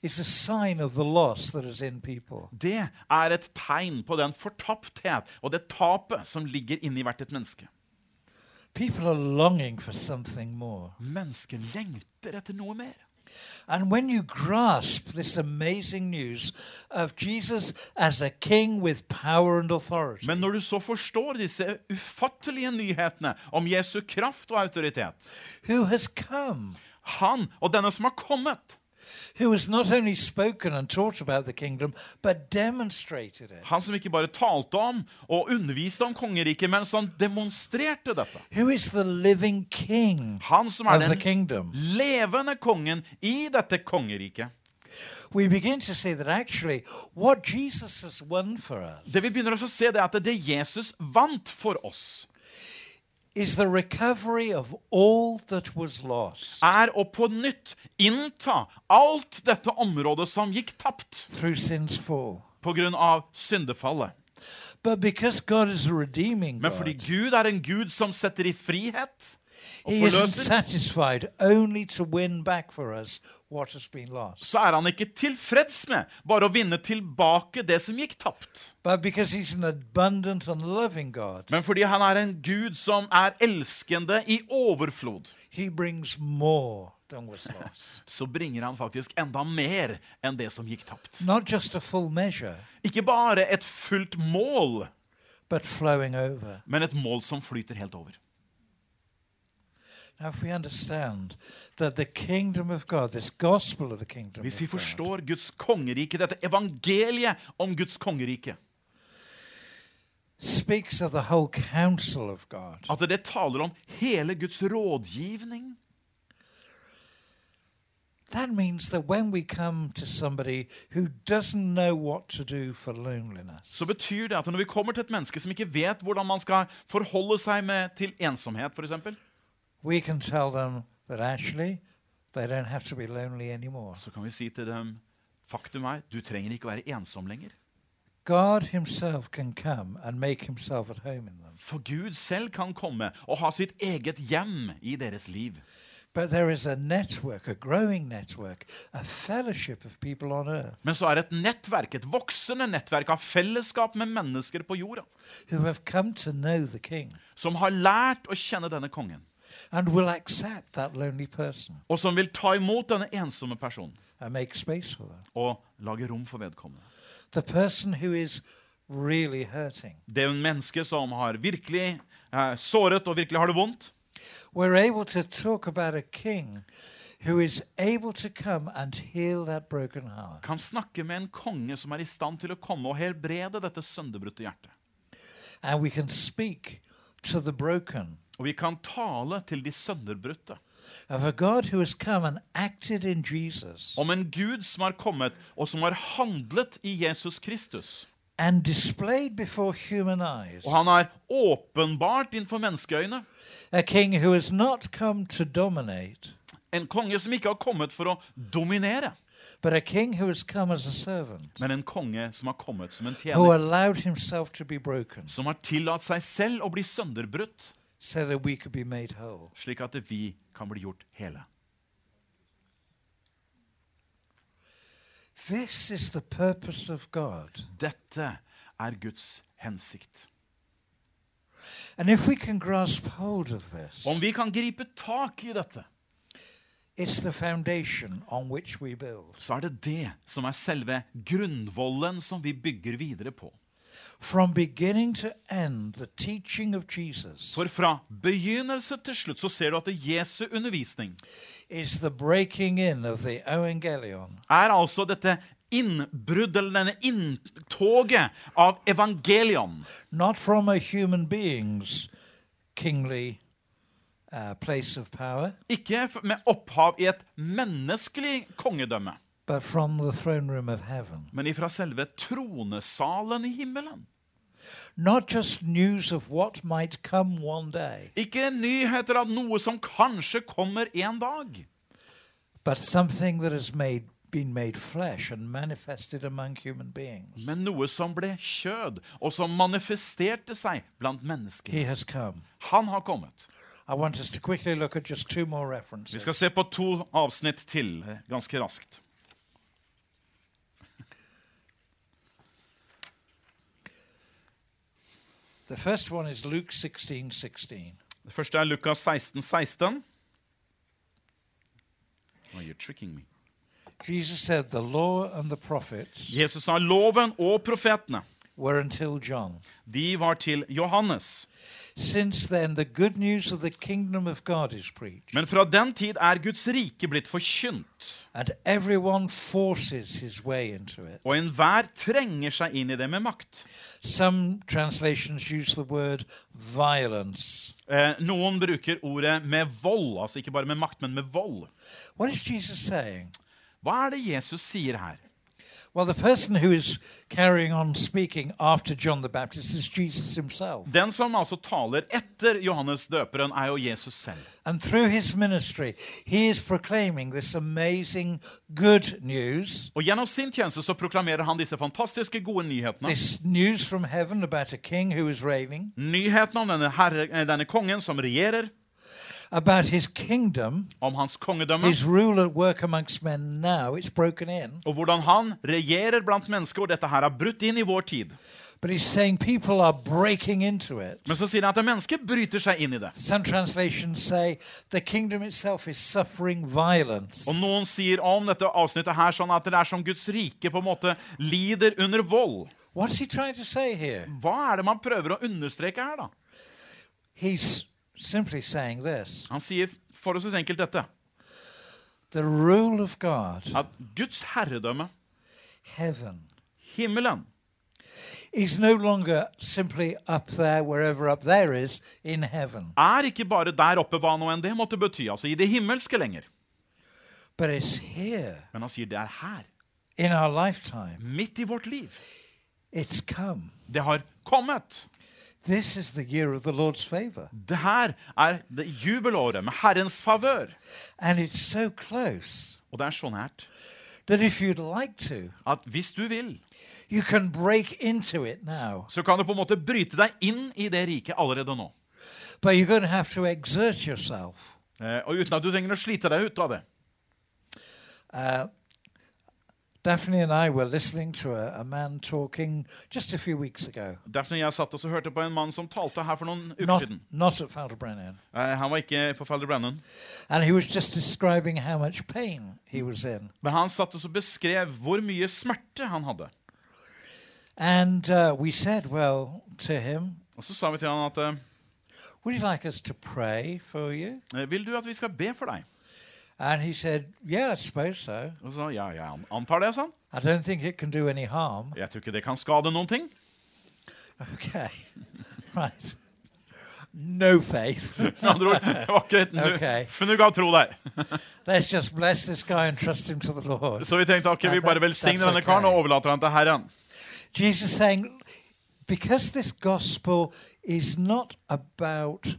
is a sign of the loss that is in people.
det er et tegn på den fortapthet og det tapet som ligger inni hvert et menneske.
People are longing for something more.
Mennesket lengter etter noe mer.
And when you grasp this amazing news of Jesus as a king with power and authority,
Men når du så forstår disse ufattelige nyhetene om Jesu kraft og autoritet
who has come,
Han og denne som har kommet,
who has not only spoken and taught about the kingdom, but demonstrated it,
han som ikke bare talte om og underviste om kongeriket, men som demonstrerte dette
who is the living king
Han som er
of the
den
kingdom,
levende kongen i dette kongeriket.
we begin to see that actually what Jesus has won for us
Det vi begynner også å se, det er at det Jesus vant for oss,
is the recovery of all that was lost.
er å på nytt innta alt dette området som gikk tapt
through sin's fall.
pga. syndefallet.
But because God is a redeeming
Men fordi
God,
Gud er en Gud som setter i frihet og
He isn't
forløser,
satisfied only to win back for us what has been lost.
så er han ikke tilfreds med bare å vinne tilbake det som gikk tapt.
But because He's an abundant and loving God,
Men fordi han er en Gud som er elskende i overflod,
He brings more than was lost.
så bringer han faktisk enda mer enn det som gikk tapt.
Not just a full measure,
Ikke bare et fullt mål,
but flowing over.
men et mål som flyter helt over.
Now, if we understand that the kingdom of God, this gospel of the kingdom,
Hvis vi
of God,
forstår Guds kongerike, dette evangeliet om Guds kongerike,
speaks of the whole counsel of God,
at det taler om hele Guds rådgivning,
That means that when we come to somebody who doesn't know what to do for loneliness,
så betyr det at når vi kommer til et menneske som ikke vet hvordan man skal forholde seg med til ensomhet, f.eks.,
we can tell them that actually they don't have to be lonely anymore.
så kan vi si til dem Faktum er, du trenger ikke å være ensom lenger.
God Himself can come and make Himself at home in them.
For Gud selv kan komme og ha sitt eget hjem i deres liv.
But there is a network, a growing network, a fellowship of people on earth
Men så er et nettverk, et voksende nettverk av fellesskap med mennesker på jorda,
who have come to know the King
som har lært å kjenne denne kongen,
and will accept that lonely person
og som vil ta imot denne ensomme personen
and make space for them.
og lage rom for vedkommende.
The person who is really hurting.
Det er en menneske som har virkelig eh, såret og virkelig har det vondt.
We're able to talk about a king who is able to come and heal that broken heart.
Kan snakke med en konge som er i stand til å komme og helbrede dette sønderbrutte hjertet.
And we can speak to the broken
Og vi kan tale til de sønderbrutte
of a God who has come and acted in Jesus
om en Gud som har kommet, og som har handlet i Jesus Kristus.
and displayed before human eyes
Og han er åpenbart innenfor menneskeøyne.
a king who has not come to dominate,
En konge som ikke har kommet for å dominere,
but a king who has come as a servant,
men en konge som har kommet som en
who
tjener.
allowed himself to be broken
Som har tillatt seg selv å bli sønderbrutt,
so that we could be made whole.
slik at vi kan bli gjort hele.
This is the purpose of God.
Dette er Guds hensikt.
And if we can grasp hold of this,
Om vi kan gripe tak i dette,
It's the foundation on which we build.
så er det det som er selve grunnvollen som vi bygger videre på.
From beginning to end, the teaching of Jesus
For fra begynnelse til slutt så ser du at det Jesu undervisning
is the breaking in of the evangelion
er altså dette innbrudd, eller denne inntoget av evangelion.
not from a human being's kingly uh, place of power,
Ikke f- med opphav i et menneskelig kongedømme,
but from the throne room of heaven.
men ifra selve tronesalen i himmelen.
Not just news of what might come one day,
Ikke nyheter av noe som kanskje kommer en dag,
but something that has made, been made flesh and manifested among human beings.
men noe som ble kjød, og som manifesterte seg blant mennesker.
He has come.
Han har kommet.
I want us to quickly look at just two more
Vi
references.
skal se på to avsnitt til eh, ganske raskt.
The first one is Luke 16 16.
Det første er Lukas 16, 16. Oh, you're tricking me.
Jesus said, The law and the prophets
Jesus sa loven og profetene.
were until John.
De var til Johannes.
Since then, the good news of the kingdom of God is preached,
Men fra den tid er Guds rike blitt forkynt,
and everyone forces his way into it.
og enhver trenger seg inn i det med makt.
Some translations use the word violence.
Eh, noen bruker ordet med vold, altså ikke bare med makt, men med vold.
What is Jesus saying?
Hva er det Jesus sier her?
Well, the person who is carrying on speaking after John the Baptist is Jesus himself.
Den som altså taler etter Johannes døperen, er jo Jesus selv.
And through his ministry, he is proclaiming this amazing good news,
Og Gjennom sin tjeneste så proklamerer han disse fantastiske gode nyhetene.
this news from heaven about a king who is reigning,
Nyhetene om denne, herre, eh, denne kongen som regjerer,
about his kingdom,
om hans kongedømme,
his rule at work amongst men now. It's broken in.
og hvordan han regjerer blant mennesker. Og dette her er brutt inn i vår tid.
But he's saying people are breaking into it.
Men så sier han at mennesker bryter seg inn i det.
Some translations say the kingdom itself is suffering violence.
Og noen sier om dette avsnittet her sånn at det er som Guds rike på en måte lider under vold.
What's he trying to say here?
Hva er det man prøver å understreke her, da?
He's simply saying this
Han sier forholdsvis enkelt dette.
the rule of God,
At Guds herredømme,
heaven,
himmelen,
is no longer simply up there, wherever up there is, in heaven,
er ikke bare der oppe hva nå enn det måtte bety, altså i det himmelske lenger.
but it's here
Men han sier det er her,
in our lifetime.
midt i vårt liv.
It's come.
Det har kommet.
This is the year of the Lord's favor.
Det her er det jubelåret med Herrens favør.
And it's so close
Og det er så nært
that if you'd like to,
at hvis du vil,
you can break into it now.
så kan du på en måte bryte deg inn i det riket allerede nå.
But you're going to have to exert yourself.
Eh, Og uten at du trenger å slite deg ut av det.
Uh, Daphne and I were listening to a, a man talking just a few weeks ago.
Derfor jeg satt og så hørte på en mann som talte her for noen uker
Not,
siden.
not at Falderbrennan.
Eh, Han var ikke på Falder Brennan.
And he was just describing how much pain he was in.
Men han satt og så beskrev hvor mye smerte han hadde.
And uh, we said, well, to him,
Og så sa vi til han at eh,
would you like us to pray for you?
Vil du at vi skal be for deg?
And he said, yeah, I suppose so.
Og så sa han, ja, jeg an- antar det, sa han.
I don't think it can do any harm.
Jeg tror ikke det kan skade noen ting.
Okay. right. No faith.
Med andre ord, det var ikke et nu,
Ok.
fnugg av tro der.
Let's just bless this guy and trust him to the Lord.
Så vi tenkte ok,
Ja,
vi bare
that-
velsigner
that's
denne karen
ok.
og overlater han til Herren.
Jesus saying, because this gospel is not about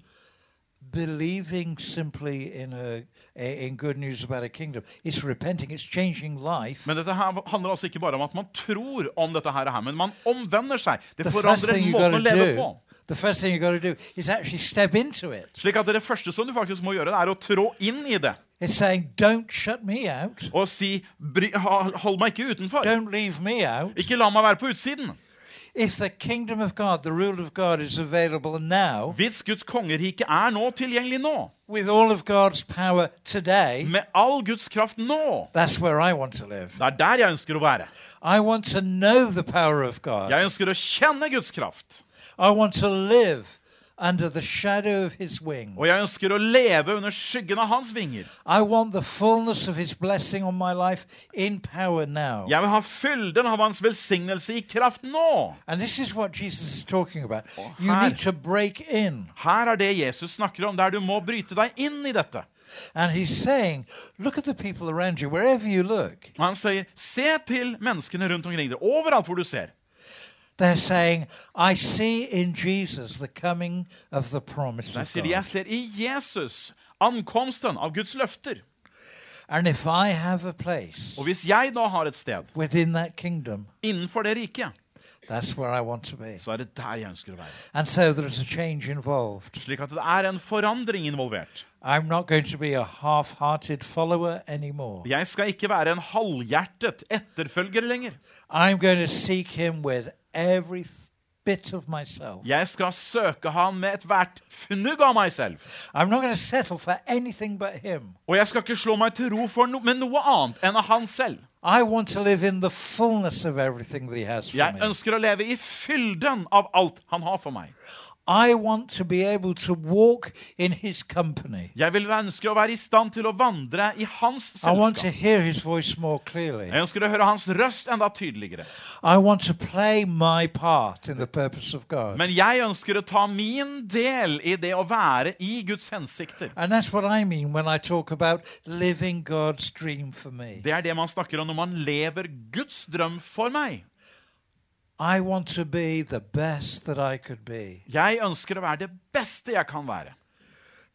believing simply in a in good news about a kingdom. It's repenting. It's changing life.
Men dette her handler altså ikke bare om at man tror om dette her, og her, men man omvender seg.
The
Det
first
forandrer
thing you got
måten
to
å leve
do.
på.
The first thing you got to do is actually step into it.
Slik at det første som du faktisk må gjøre, det er å trå inn i det
It's saying, don't shut me out.
og si bry, ha- Hold meg ikke utenfor.
Don't leave me out.
Ikke la meg være på utsiden.
If the kingdom of God, the rule of God, is available now
Hvis Guds kongerike er nå tilgjengelig nå,
with all of God's power today,
med all Guds kraft nå
that's where I want to live.
Det er der jeg ønsker å være.
I want to know the power of God.
Jeg ønsker å kjenne Guds kraft.
I want to live under the shadow of his wing.
Og jeg ønsker å leve under skyggen av hans vinger.
I want the fullness of his blessing on my life in power now.
Jeg vil ha fylden av hans velsignelse i kraft nå.
And this is what Jesus is talking about. You
hi.
need to break in.
Her er det Jesus snakker om, der du må bryte deg inn i dette.
And he's saying, look at the people around you, wherever you look.
Og han sier, se til menneskene rundt omkring deg, overalt hvor du ser.
They're saying, I see in Jesus the coming of the promise
Der
of
sier de,
God.
jeg ser i Jesus ankomsten av Guds løfter.
And if I have a place
Og hvis jeg da har et sted
within that kingdom,
innenfor det riket,
that's where I want to be.
så er det der jeg ønsker å være.
And so there's a change involved.
Slik at det er en forandring involvert.
I'm not going to be a half hearted follower anymore.
Jeg skal ikke være en halvhjertet etterfølger lenger.
I'm going to seek him with every th- bit of myself.
Jeg skal søke han med ethvert fnugg av meg selv.
I'm not going to settle for anything but him.
Og jeg skal ikke slå meg til ro for no med noe annet enn av han selv.
I want to live in the fullness of everything that he has for
Jeg
me.
ønsker å leve i fylden av alt han har for meg.
I want to be able to walk in his company.
Jeg vil ønske å være i stand til å vandre i hans
I want to
selskap.
hear his voice more clearly.
Jeg ønsker å høre hans røst enda tydeligere.
I want to play my part in the purpose of God.
Men jeg ønsker å ta min del i det å være i Guds hensikter.
And that's what I mean when I talk about living God's dream for me.
Det er det man snakker om når man lever Guds drøm for meg.
I want to be the best that I could be,
Jeg ønsker å være det beste jeg kan være.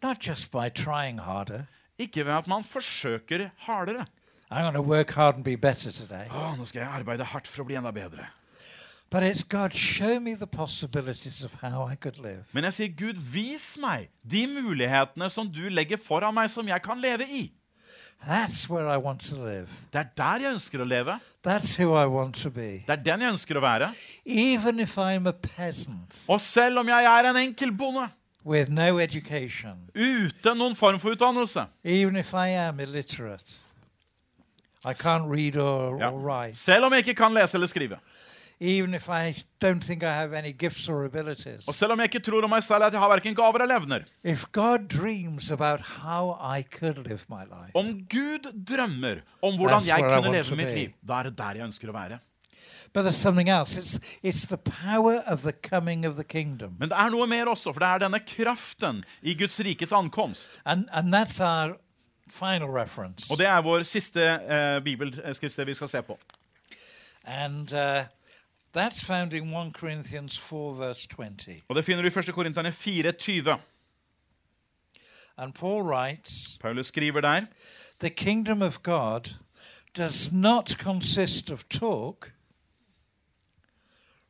not just by trying harder.
Ikke ved at man forsøker hardere.
I'm going to work hard and be better today.
Å, nå skal jeg arbeide hardt for å bli enda bedre.
But it's God, show me the possibilities of how I could live.
Men jeg sier, Gud, vis meg de mulighetene som du legger foran meg, som jeg kan leve i.
That's where I want to live.
Det er der jeg ønsker å leve.
That's who I want to be.
Det er den jeg ønsker å være.
Even if I'm a peasant
Og selv om jeg er en enkel bonde,
with no education,
uten noen form for utdannelse,
even if I am illiterate, I can't read or,
Ja.
or write,
selv om jeg ikke kan lese eller skrive,
even if I don't think I have any gifts or abilities,
og selv om jeg ikke tror om meg selv at jeg har hverken gaver eller evner
if God dreams about how I could live my life,
Om Gud drømmer om hvordan
That's
jeg
where I
kunne
want
leve
to
mitt
be.
liv, da er det der jeg ønsker å være.
but there's something else. It's, it's the power of the coming of the kingdom.
Men det er noe mer også, for det er denne kraften i Guds rikes ankomst.
And, and that's our final reference.
Og det er vår siste eh, bibelskriftssted vi skal se på.
And uh, that's found in 1 Corinthians 4, verse 20.
Og det finner du i 1. Korinterne 4,20.
And Paul writes
Paulus skriver der
The kingdom of God does not consist of talk,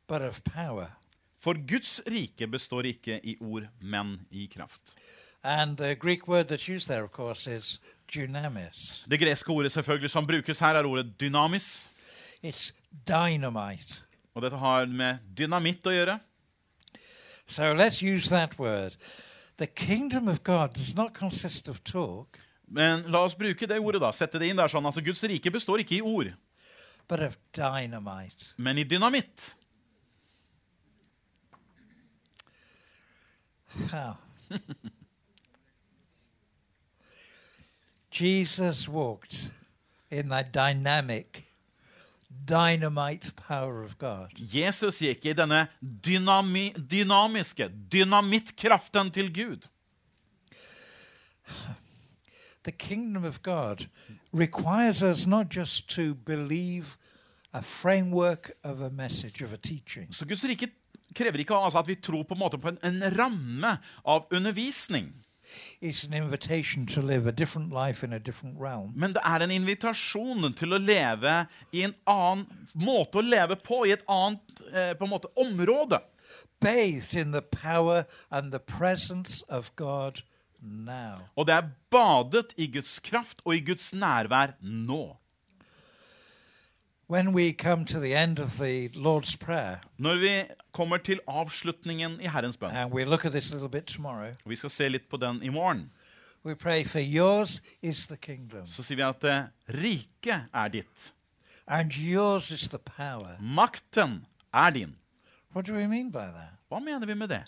but of power.
For Guds rike består ikke i ord, men i kraft.
And the Greek word that's used there, of course, is dunamis.
Det greske ordet selvfølgelig som brukes her, er ordet dynamis.
It's dynamite.
Og dette har med dynamitt å gjøre.
So let's use that word. The kingdom of God does not consist of talk,
Men la oss bruke det ordet, da. Sette det inn der sånn at Guds rike består ikke i ord,
but of dynamite.
men i dynamitt.
How? Jesus walked in that dynamic, dynamite power of God.
Jesus gikk i denne dynami dynamiske dynamittkraften til Gud.
The kingdom of God requires us not just to believe a framework of a message, of a teaching,
Så Guds rike krever ikke altså at vi tror på en måte på en, en ramme av undervisning,
it's an invitation to live a different life in a different realm.
men det er en invitasjon til å leve i en annen måte å leve på, i et annet eh, på en måte, område.
Bathed in the power and the presence of God now.
Og det er badet i Guds kraft og i Guds nærvær nå.
When we come to the end of the Lord's Prayer,
Når vi kommer til avslutningen i Herrens bønn,
And we look at this a little bit tomorrow.
og vi skal se litt på den i morgen,
We pray for yours is the kingdom,
så sier vi at eh, riket er ditt.
and yours is the power.
Makten er din.
What do we mean by that?
Hva mener vi med det?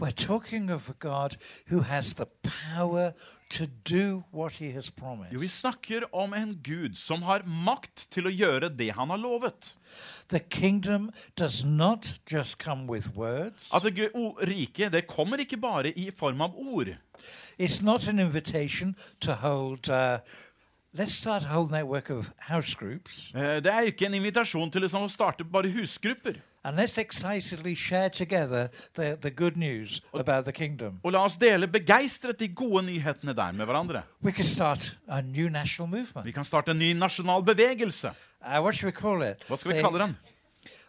We're talking of a God who has the power to do what he has promised.
Jo, vi snakker om en Gud som har makt til å gjøre det han har lovet.
The kingdom does not just come with words.
At det gu- o- riket det kommer ikke bare i form av ord. Eh,
It's not an invitation to hold. Uh, let's start a whole network of house groups
Eh, Det er ikke en invitasjon til liksom å starte bare husgrupper.
and let's excitedly share together the, the good news about the kingdom.
Og la oss dele begeistret de gode nyhetene der med hverandre.
We could start a new national
Vi
movement.
kan starte en ny nasjonal bevegelse.
Uh, what should we call it?
Hva skal vi
The-
kalle den?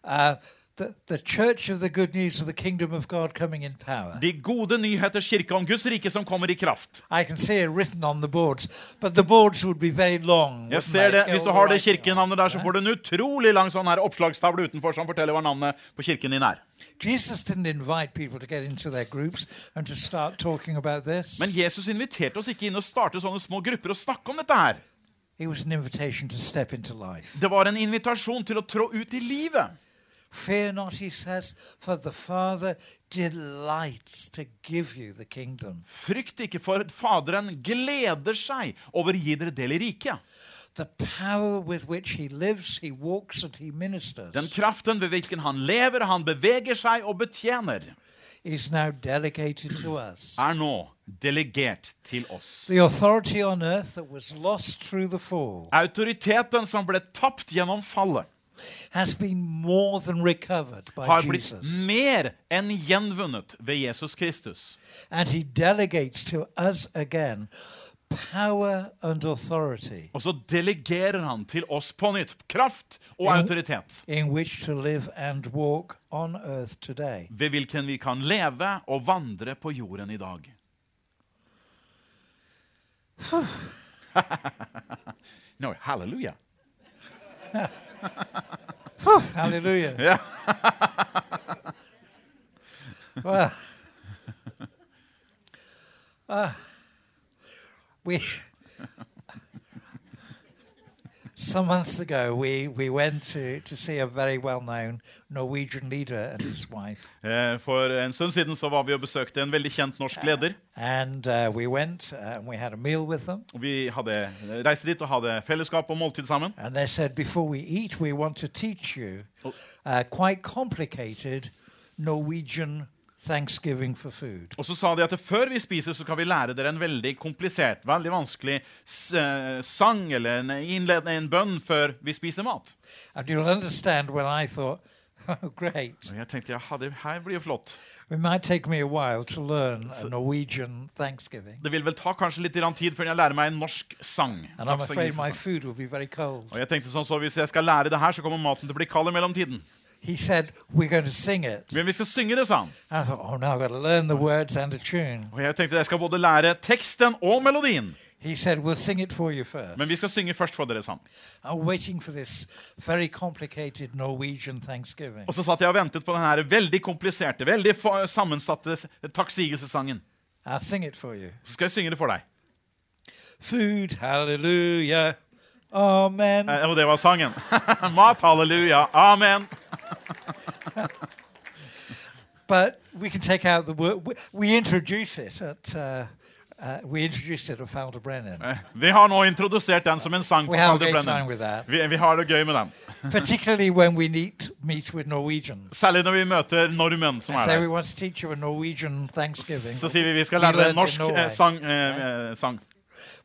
Uh, the, the Church of the Good News of the Kingdom of God coming in power.
De gode nyheters kirke om Guds rike som kommer i kraft.
I can see it written on the boards, but the boards would be very long.
Jeg
wouldn't
ser
they?
det.
It's got
Hvis du
all the
har det
writing on
kirkenavnet der, så får du en utrolig lang sånn her oppslagstavle utenfor som forteller hva navnet på kirken din er.
it. Jesus didn't invite people to get into their groups and to start talking about this.
Men Jesus inviterte oss ikke inn og starte sånne små grupper og snakke om dette her.
It was an invitation to step into life.
Det var en invitasjon til å trå ut i livet.
Fear not, he says, for the Father delights to give you the kingdom.
Frykt ikke, for Faderen gleder seg over å gi dere del i riket.
The power with which he lives, he walks, and he ministers
Den kraften ved hvilken han lever, han beveger seg og betjener,
is now delegated to us.
er nå delegert til oss.
The authority on earth that was lost through the fall
Autoriteten som ble tapt gjennom fallet,
has been more than recovered by
har blitt
Jesus.
mer enn gjenvunnet ved Jesus Kristus.
And he delegates to us again power and authority
Og så delegerer han til oss på nytt kraft og
Ja.
autoritet.
in which to live and walk on earth today.
Ved hvilken vi kan leve og vandre på jorden i dag. no, halleluja.
Phew, hallelujah. well, ah, we some months ago we, we went to, to see a very well known Norwegian leader and his wife,
Eh, For en stund siden så var vi og besøkte en veldig kjent norsk leder.
and uh, we went uh, and we had a meal with them.
Og Vi hadde reiste dit og hadde fellesskap og måltid sammen.
And they said, before we eat, we want to teach you uh, quite complicated Norwegian Thanksgiving for food.
Og så sa de at før vi spiser, så skal vi lære dere en veldig komplisert, veldig vanskelig s eh, sang eller en, innledende, en bønn før vi spiser mat.
And you'll understand when I thought, oh, great.
Og jeg tenkte ja, det her blir jo flott.
It might take me a while to learn a Norwegian Thanksgiving.
Det vil vel ta kanskje litt grann tid før jeg lærer meg en norsk sang.
And I'm
Norsk
afraid my
sang.
food will be very cold.
Og jeg tenkte sånn, så Hvis jeg skal lære det her, så kommer maten til å bli kald i mellomtiden.
He said, we're going to sing it.
Men vi skal synge det, sa han.
And I thought, oh, no, I've got to learn the words and a tune.
Og jeg tenkte jeg skal både lære teksten og melodien.
He said, we'll sing it for you first.
Men vi skal synge først for dere, sa han.
I'm waiting for this very complicated Norwegian Thanksgiving.
Og så satt jeg og ventet på den her veldig kompliserte, veldig fa- sammensatte s- takksigelsesangen.
I'll sing it for you.
Så skal jeg synge det for deg.
Food, hallelujah, amen.
Eh, og det var sangen. Mat, halleluja, amen.
But we can take out the word. We, we introduce it at uh, uh, we introduce it at Falder Brennan.
Eh, Vi har nå introdusert den som en sang. på
We have a
Calder
great
Brennan.
time with that,
Vi, vi har det gøy med den.
particularly when we meet meet with Norwegians.
Særlig når vi møter nordmenn som er
Say we
der.
want to teach you a Norwegian Thanksgiving.
Så sier vi vi skal
We
lære deg
learned
en norsk
in Norway.
eh, sang, eh, eh, sang.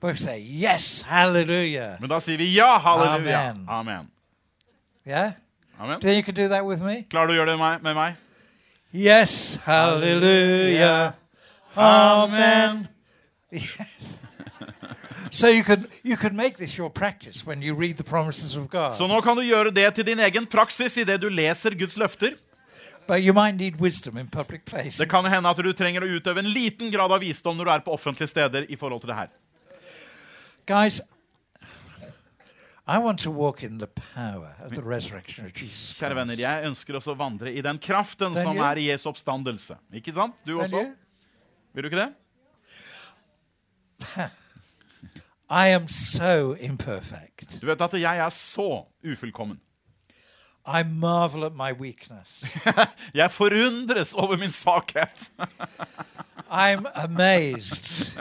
We say yes, hallelujah.
Men da sier vi ja, halleluja.
Amen.
Amen.
Yeah.
amen.
Then you can do that with me.
Klarer du å gjøre det med meg- med meg?
Yes, hallelujah, amen. Yes. so you could you could make this your practice when you read the promises of God.
Så nå kan du gjøre det til din egen praksis idet du leser Guds løfter.
But you might need wisdom in public places.
Det kan hende at du trenger å utøve en liten grad av visdom når du er på offentlige steder. i forhold til det her.
Guys, I want to walk in the power of the resurrection of Jesus
Kjære venner,
Christ.
jeg ønsker også å vandre i den kraften
Den
som
gjør.
er i Jesu oppstandelse. Ikke sant? Du
Don't
også?
you?
Vil du ikke det?
I am so imperfect.
Du vet at jeg er så ufullkommen.
I marvel at my weakness.
Jeg forundres over min svakhet.
I'm amazed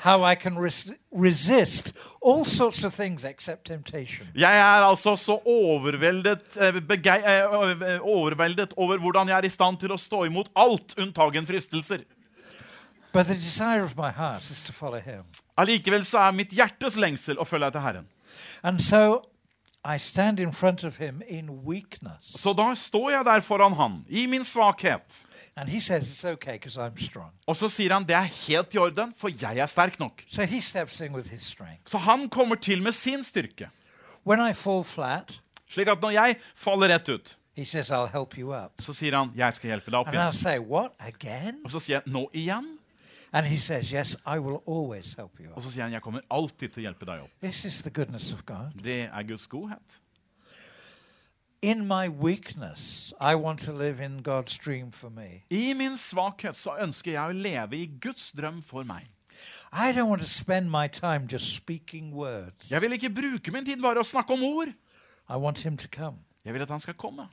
how I can res- resist all sorts of things except temptation.
Jeg er altså så overveldet, eh, begei, eh, eh, overveldet over hvordan jeg er i stand til å stå imot alt unntagen fristelser.
But the desire of my heart is to follow him.
Allikevel så er mitt hjertes lengsel å følge etter Herren.
And so I stand in front of him in weakness.
Så da står jeg der foran han, i min svakhet.
And he says, It's okay because I'm strong.
Og så sier han det er helt i orden, for jeg er sterk nok.
So he steps in with his strength.
Så han kommer til med sin styrke.
When I fall flat,
Slik at når jeg faller rett ut,
he says, I'll help you up.
så sier han 'jeg skal hjelpe deg opp
And I'll
igjen'.
say, What? Again?
Og så sier jeg 'nå igjen'.
And he says, Yes, I will always help you
Og
up.
så sier han 'jeg kommer alltid til å hjelpe deg opp'.
This is the goodness of God.
Det er Guds godhet.
In my weakness, I want to live in God's dream for me.
I min svakhet så ønsker jeg å leve i Guds drøm for meg.
I don't want to spend my time just speaking words.
Jeg vil ikke bruke min tid bare å snakke om ord.
I want him to come.
Jeg vil at han skal komme.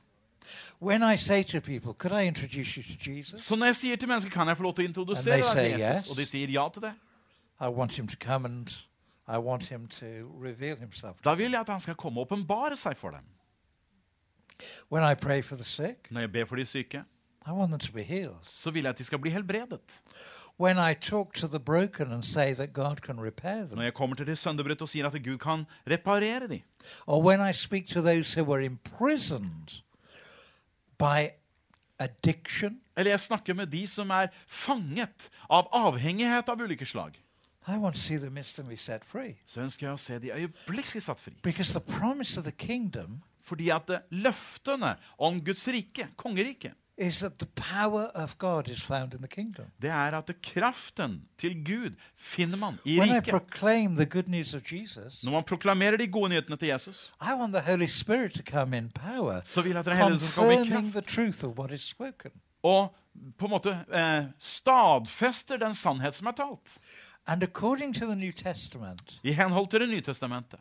When I say to people, Could I introduce you to Jesus?
Så når jeg sier til mennesker 'kan jeg få lov til å introdusere
And they
deg
say
til
yes.
Jesus', og de sier ja til det,
I want him to come and I want him to reveal himself.
da vil jeg at han skal komme og åpenbare seg for dem.
When I pray for the sick,
Når jeg ber for de syke,
I want them to be healed.
så vil jeg at de skal bli helbredet.
When I talk to the broken and say that God can repair
Når
them,
jeg kommer til de sønderbrutte og sier at Gud kan reparere de.
or when I speak to those who were imprisoned by addiction,
Eller jeg snakker med de som er fanget av avhengighet av ulike slag.
I want to see them instantly set free.
Så ønsker jeg å se de øyeblikkelig satt fri.
Because the promise of the kingdom
Fordi at eh, løftene om Guds rike, kongeriket,
is that the power of God is found in the kingdom.
det er at kraften til Gud finner man i
When I
riket.
proclaim the good news of Jesus,
Når man proklamerer de gode nyhetene til Jesus,
I want the Holy Spirit to come in power,
så vil jeg at Den hellige ånd skal komme i
confirming
kraft
the truth of what is spoken.
og på en måte eh, stadfester den sannhet som er talt.
And according to the New Testament,
I henhold til Det nye testamentet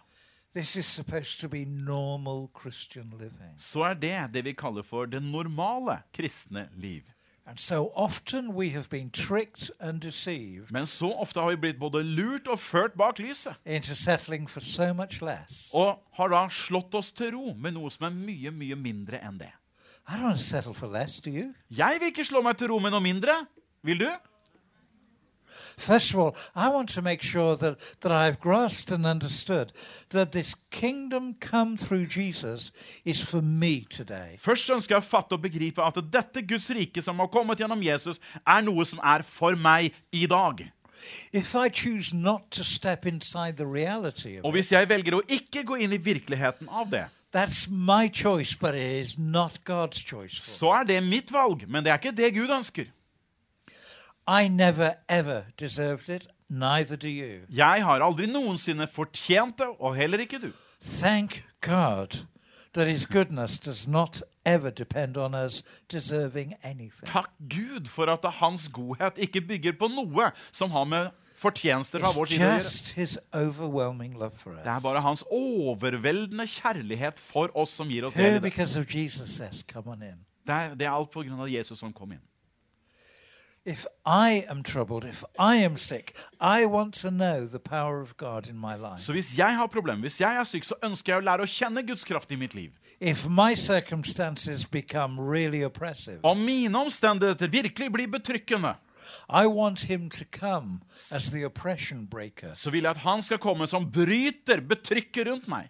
this is supposed to be normal Christian living.
så er det det vi kaller for det normale kristne liv.
And so often we have been tricked and deceived
Men så ofte har vi blitt både lurt og ført bak lyset.
into settling for so much less.
Og har da slått oss til ro med noe som er mye, mye mindre enn det.
I don't want to settle for less, do you?
Jeg vil ikke slå meg til ro med noe mindre. Vil du?
First of all, I want to make sure that, that I've grasped and understood that this kingdom come through Jesus is for me today.
Først ønsker jeg å fatte og begripe at dette Guds rike som har kommet gjennom Jesus, er noe som er for meg i dag.
If I choose not to step inside the reality of
Og
it,
hvis jeg velger å ikke gå inn i virkeligheten av det,
that's my choice, but it is not God's choice. for me.
så er det mitt valg, men det er ikke det Gud ønsker.
I never ever deserved it, neither do you.
Jeg har aldri noensinne fortjent det, og heller ikke du.
Thank God that His goodness does not ever depend on us deserving anything.
Takk Gud for at hans godhet ikke bygger på noe som har med fortjenester fra vår
It's
side å gjøre.
just His overwhelming love for
Det er
us.
bare hans overveldende kjærlighet for oss som gir oss del
Who,
i det.
because of Jesus, says, Come on in.
Det er, det er alt på grunn av Jesus som kom inn.
If I am troubled, if I am sick, I want to know the power of God in my life.
Så hvis jeg har problemer, hvis jeg er syk, så ønsker jeg å lære å kjenne Guds kraft i mitt liv.
If my circumstances become really oppressive,
Om mine omstendigheter virkelig blir betrykkende,
I want Him to come as the oppression breaker.
så vil jeg at han skal komme som bryter betrykket rundt meg.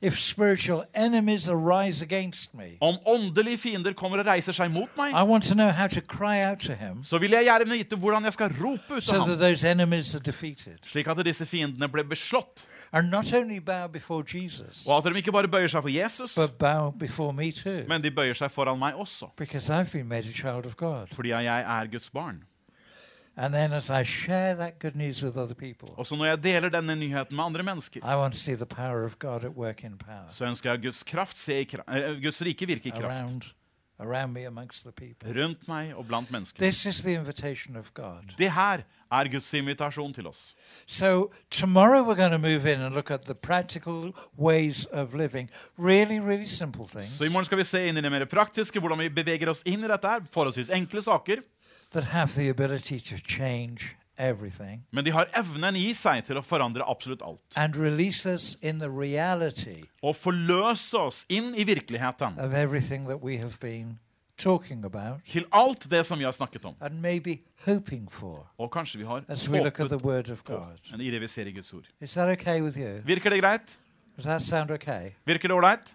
If spiritual enemies arise against me,
Om åndelige fiender kommer og reiser seg mot meg,
I want to know how to cry out to Him
så vil jeg gjerne vite hvordan jeg skal rope ut til
so that
ham,
those enemies are defeated.
slik at disse fiendene ble beslått,
And not only bow before Jesus,
og at de ikke bare bøyer seg for Jesus,
but bow before me too.
men de bøyer seg foran meg også,
Because I've been made a child of God.
fordi jeg er Guds barn.
And then as I share that good news with other people,
Også når jeg deler denne nyheten med andre mennesker,
I want to see the power of God at work in power
så ønsker jeg Guds, kraft se i kra eh, Guds eh, rike virke i kraft
around around me amongst the people.
rundt meg og blant mennesker.
This is the invitation of God.
Det her er Guds invitasjon til oss.
So, tomorrow we're going to move in and look at the practical ways of living. Really, really simple things
Så i morgen skal vi se inn i det mer praktiske, hvordan vi beveger oss inn i dette her. Forholdsvis enkle saker,
that have the ability to change everything
men de har evnen i seg til å forandre absolutt alt.
and release us in the reality
Og forløse oss inn i virkeligheten.
of everything that we have been talking about
Til alt det som vi har snakket om.
and maybe hoping for
Og kanskje vi har
as we look at the
håpet
Word of
på
God.
en irrevisering i Guds ord.
Is that okay with you?
Virker det greit?
Does that sound okay?
Virker det ålreit?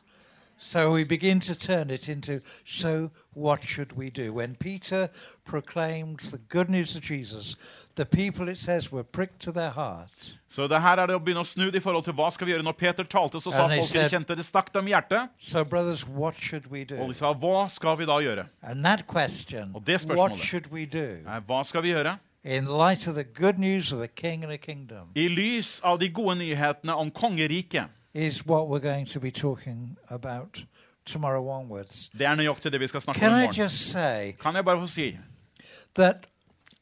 So we begin to turn it into so what should we do? When Peter proclaimed the good news of Jesus, the people, it says, were pricked to their heart.
Så det her er det å begynne å snu det i forhold til hva skal vi gjøre. Når Peter talte, så sa
And they
folk de
said-
kjente det stakk dem i hjertet.
So, brothers, what should we
Og
do?
de sa hva skal vi da gjøre?
And that question,
Og det spørsmålet.
what should we do?
Nei, hva skal vi gjøre?
In light of the good news of a king and a kingdom,
I lys av de gode nyhetene om kongeriket.
is what we're going to be talking about tomorrow onwards.
Det er nøyaktig det vi skal snakke
Can
om i
I
morgen.
just say
Kan jeg bare få si
that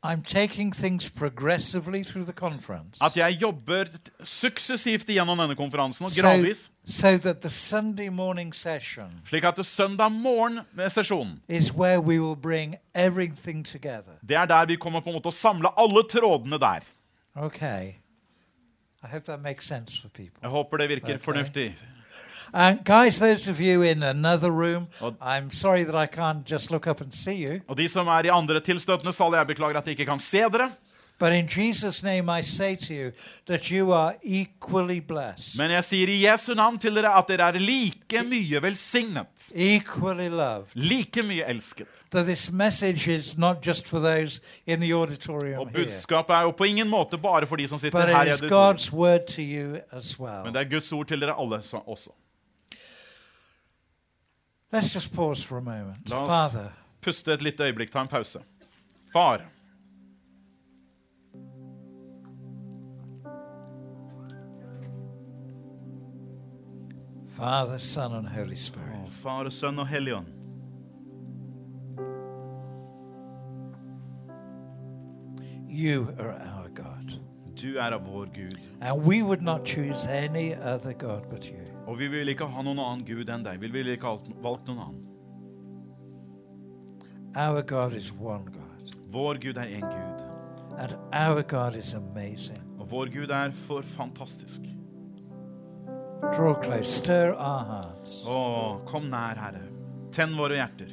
I'm taking things progressively through the conference?
at jeg jobber t- suksessivt igjennom denne konferansen, og
so,
gradvis,
so that the Sunday morning session
slik at det søndag morgen med sesjonen,
is where we will bring everything together.
det er der vi kommer på en måte å samle alle trådene der.
Okay. I hope that makes sense for people.
Jeg håper det virker
Ok.
fornuftig.
And guys, those of you in another room,
Well-
I'm sorry that I can't just look up and see you,
Og de som er i andre tilstøtende saler, jeg beklager at jeg ikke kan se dere,
but in Jesus' name I say to you that you are equally blessed,
men jeg sier i Jesu navn til dere at dere er like mye velsignet,
equally loved.
like mye elsket.
That this message is not just for those in the auditorium
Og
here,
budskapet er jo på ingen måte bare for de som sitter
but
her i
it is
auditoriet,
God's word to you as well.
men det er Guds ord til dere alle så- også.
Let's just pause for a moment.
Lars.
Father,
Puste et lite øyeblikk, ta en pause. Far,
Father, Son, and Holy Spirit.
Å, Far og Sønn og Helligånd.
You are our God.
Du er av vår Gud,
And we would not choose any other God but you.
og vi vil ikke ha noen annen Gud enn deg. Vi ville ikke ha valgt noen annen.
Our God is one God.
Vår Gud er én Gud,
And our God is amazing.
og vår Gud er for fantastisk.
Draw close, stir our hearts.
Å, kom nær, Herre. Tenn våre hjerter.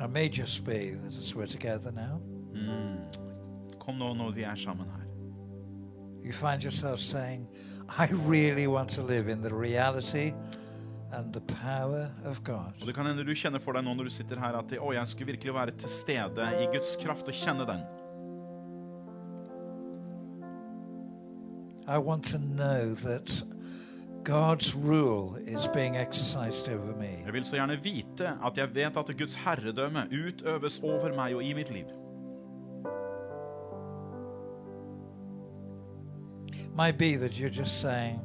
I may just be that as we're together now,
Kom nå når vi er sammen her.
you find yourself saying, I really want to live in the reality and the power of God.
Og Det kan hende du kjenner for deg nå når du sitter her at å, jeg skulle virkelig være til stede i Guds kraft og kjenne den.
I want to know that God's rule is being exercised over me.
Jeg vil så gjerne vite at jeg vet at Guds herredømme utøves over meg og i mitt liv.
Might be that you're just saying,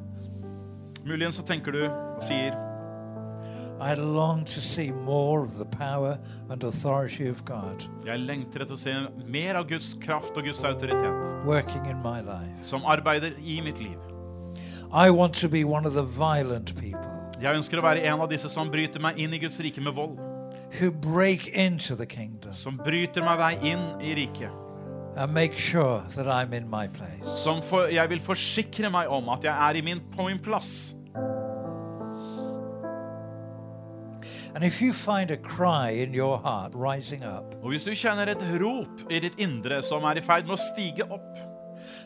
Muligens så tenker du og sier
I long to see more of the power and authority of God
Jeg lengter etter å se mer av Guds kraft og Guds autoritet
working in my life.
som arbeider i mitt liv.
I want to be one of the violent people
Jeg ønsker å være en av disse som bryter meg inn i Guds rike med vold.
who break into the kingdom
Som bryter meg vei inn i riket.
and make sure that I'm in my place.
Som for, jeg vil forsikre meg om at jeg er i min, på min plass.
And if you find a cry in your heart rising up
Og hvis du kjenner et rop i ditt indre som er i ferd med å stige opp,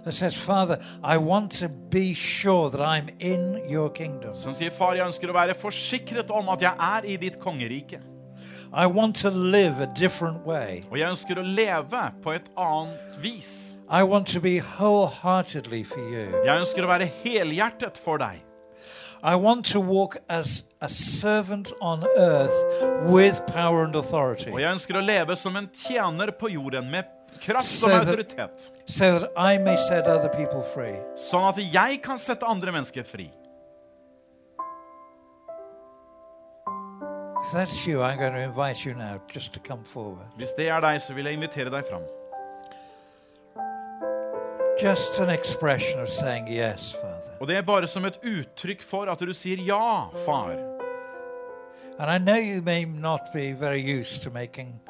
that says, Father, I want to be sure that I'm in your kingdom,
som sier 'Far, jeg ønsker å være forsikret om at jeg er i ditt kongerike',
I want to live a different way,
og jeg ønsker å leve på et annet vis.
I want to be wholeheartedly for you,
Jeg ønsker å være helhjertet for deg.
I want to walk as a servant on earth with power and authority,
Og jeg ønsker å leve som en tjener på jorden med kraft og
Say that-
autoritet,
so that I may set other people free.
sånn at jeg kan sette andre mennesker fri.
If that's you, I'm going to invite you now just to come forward.
Hvis det er deg, så vil jeg invitere deg fram.
Just an expression of saying, Yes, Father.
Og det er bare som et uttrykk for at du sier 'ja, far'.
And I know you may not be very used to making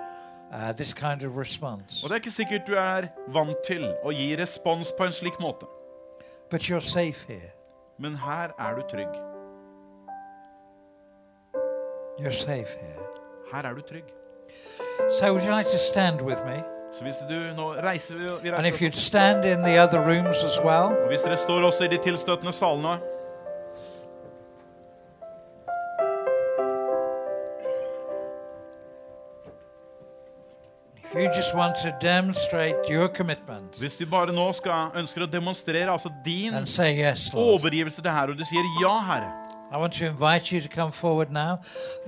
uh, this kind of response,
Og det er ikke sikkert du er vant til å gi respons på en slik måte,
but you're safe here.
men her er du trygg.
You're safe here.
Her er du trygg.
So, would you like to stand with me?
Så hvis du nå reiser vi, vi
And if
reiser
you'd
oss.
stand in the other rooms as well,
Og hvis dere står også i de tilstøtende salene
if you just want to demonstrate your commitment
Hvis du bare nå skal, ønsker å demonstrere altså din
and say, Yes,
Oh,
Lord.
overgivelse til Herre, og du sier 'ja, Herre',
I want to invite you to come forward now.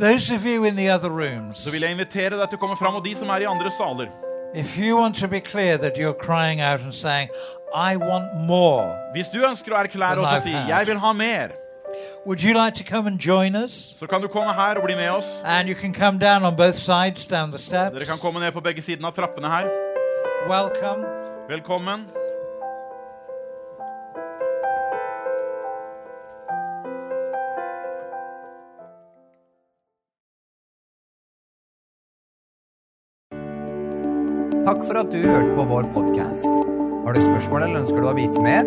Those of you in the other rooms,
så vil jeg invitere deg til å komme fram, og de som er i andre saler.
if you want to be clear that you're crying out and saying, I want more,
Hvis du ønsker å erklære
The
oss og
live
si
hand.
'jeg vil ha mer',
would you like to come and join us?
så kan du komme her og bli med oss.
And you can come down on both sides, down the
Dere
steps.
kan komme ned på begge sidene av trappene her.
Welcome.
Velkommen.
Takk for at du hørte på vår podkast. Har du spørsmål eller ønsker du å vite mer?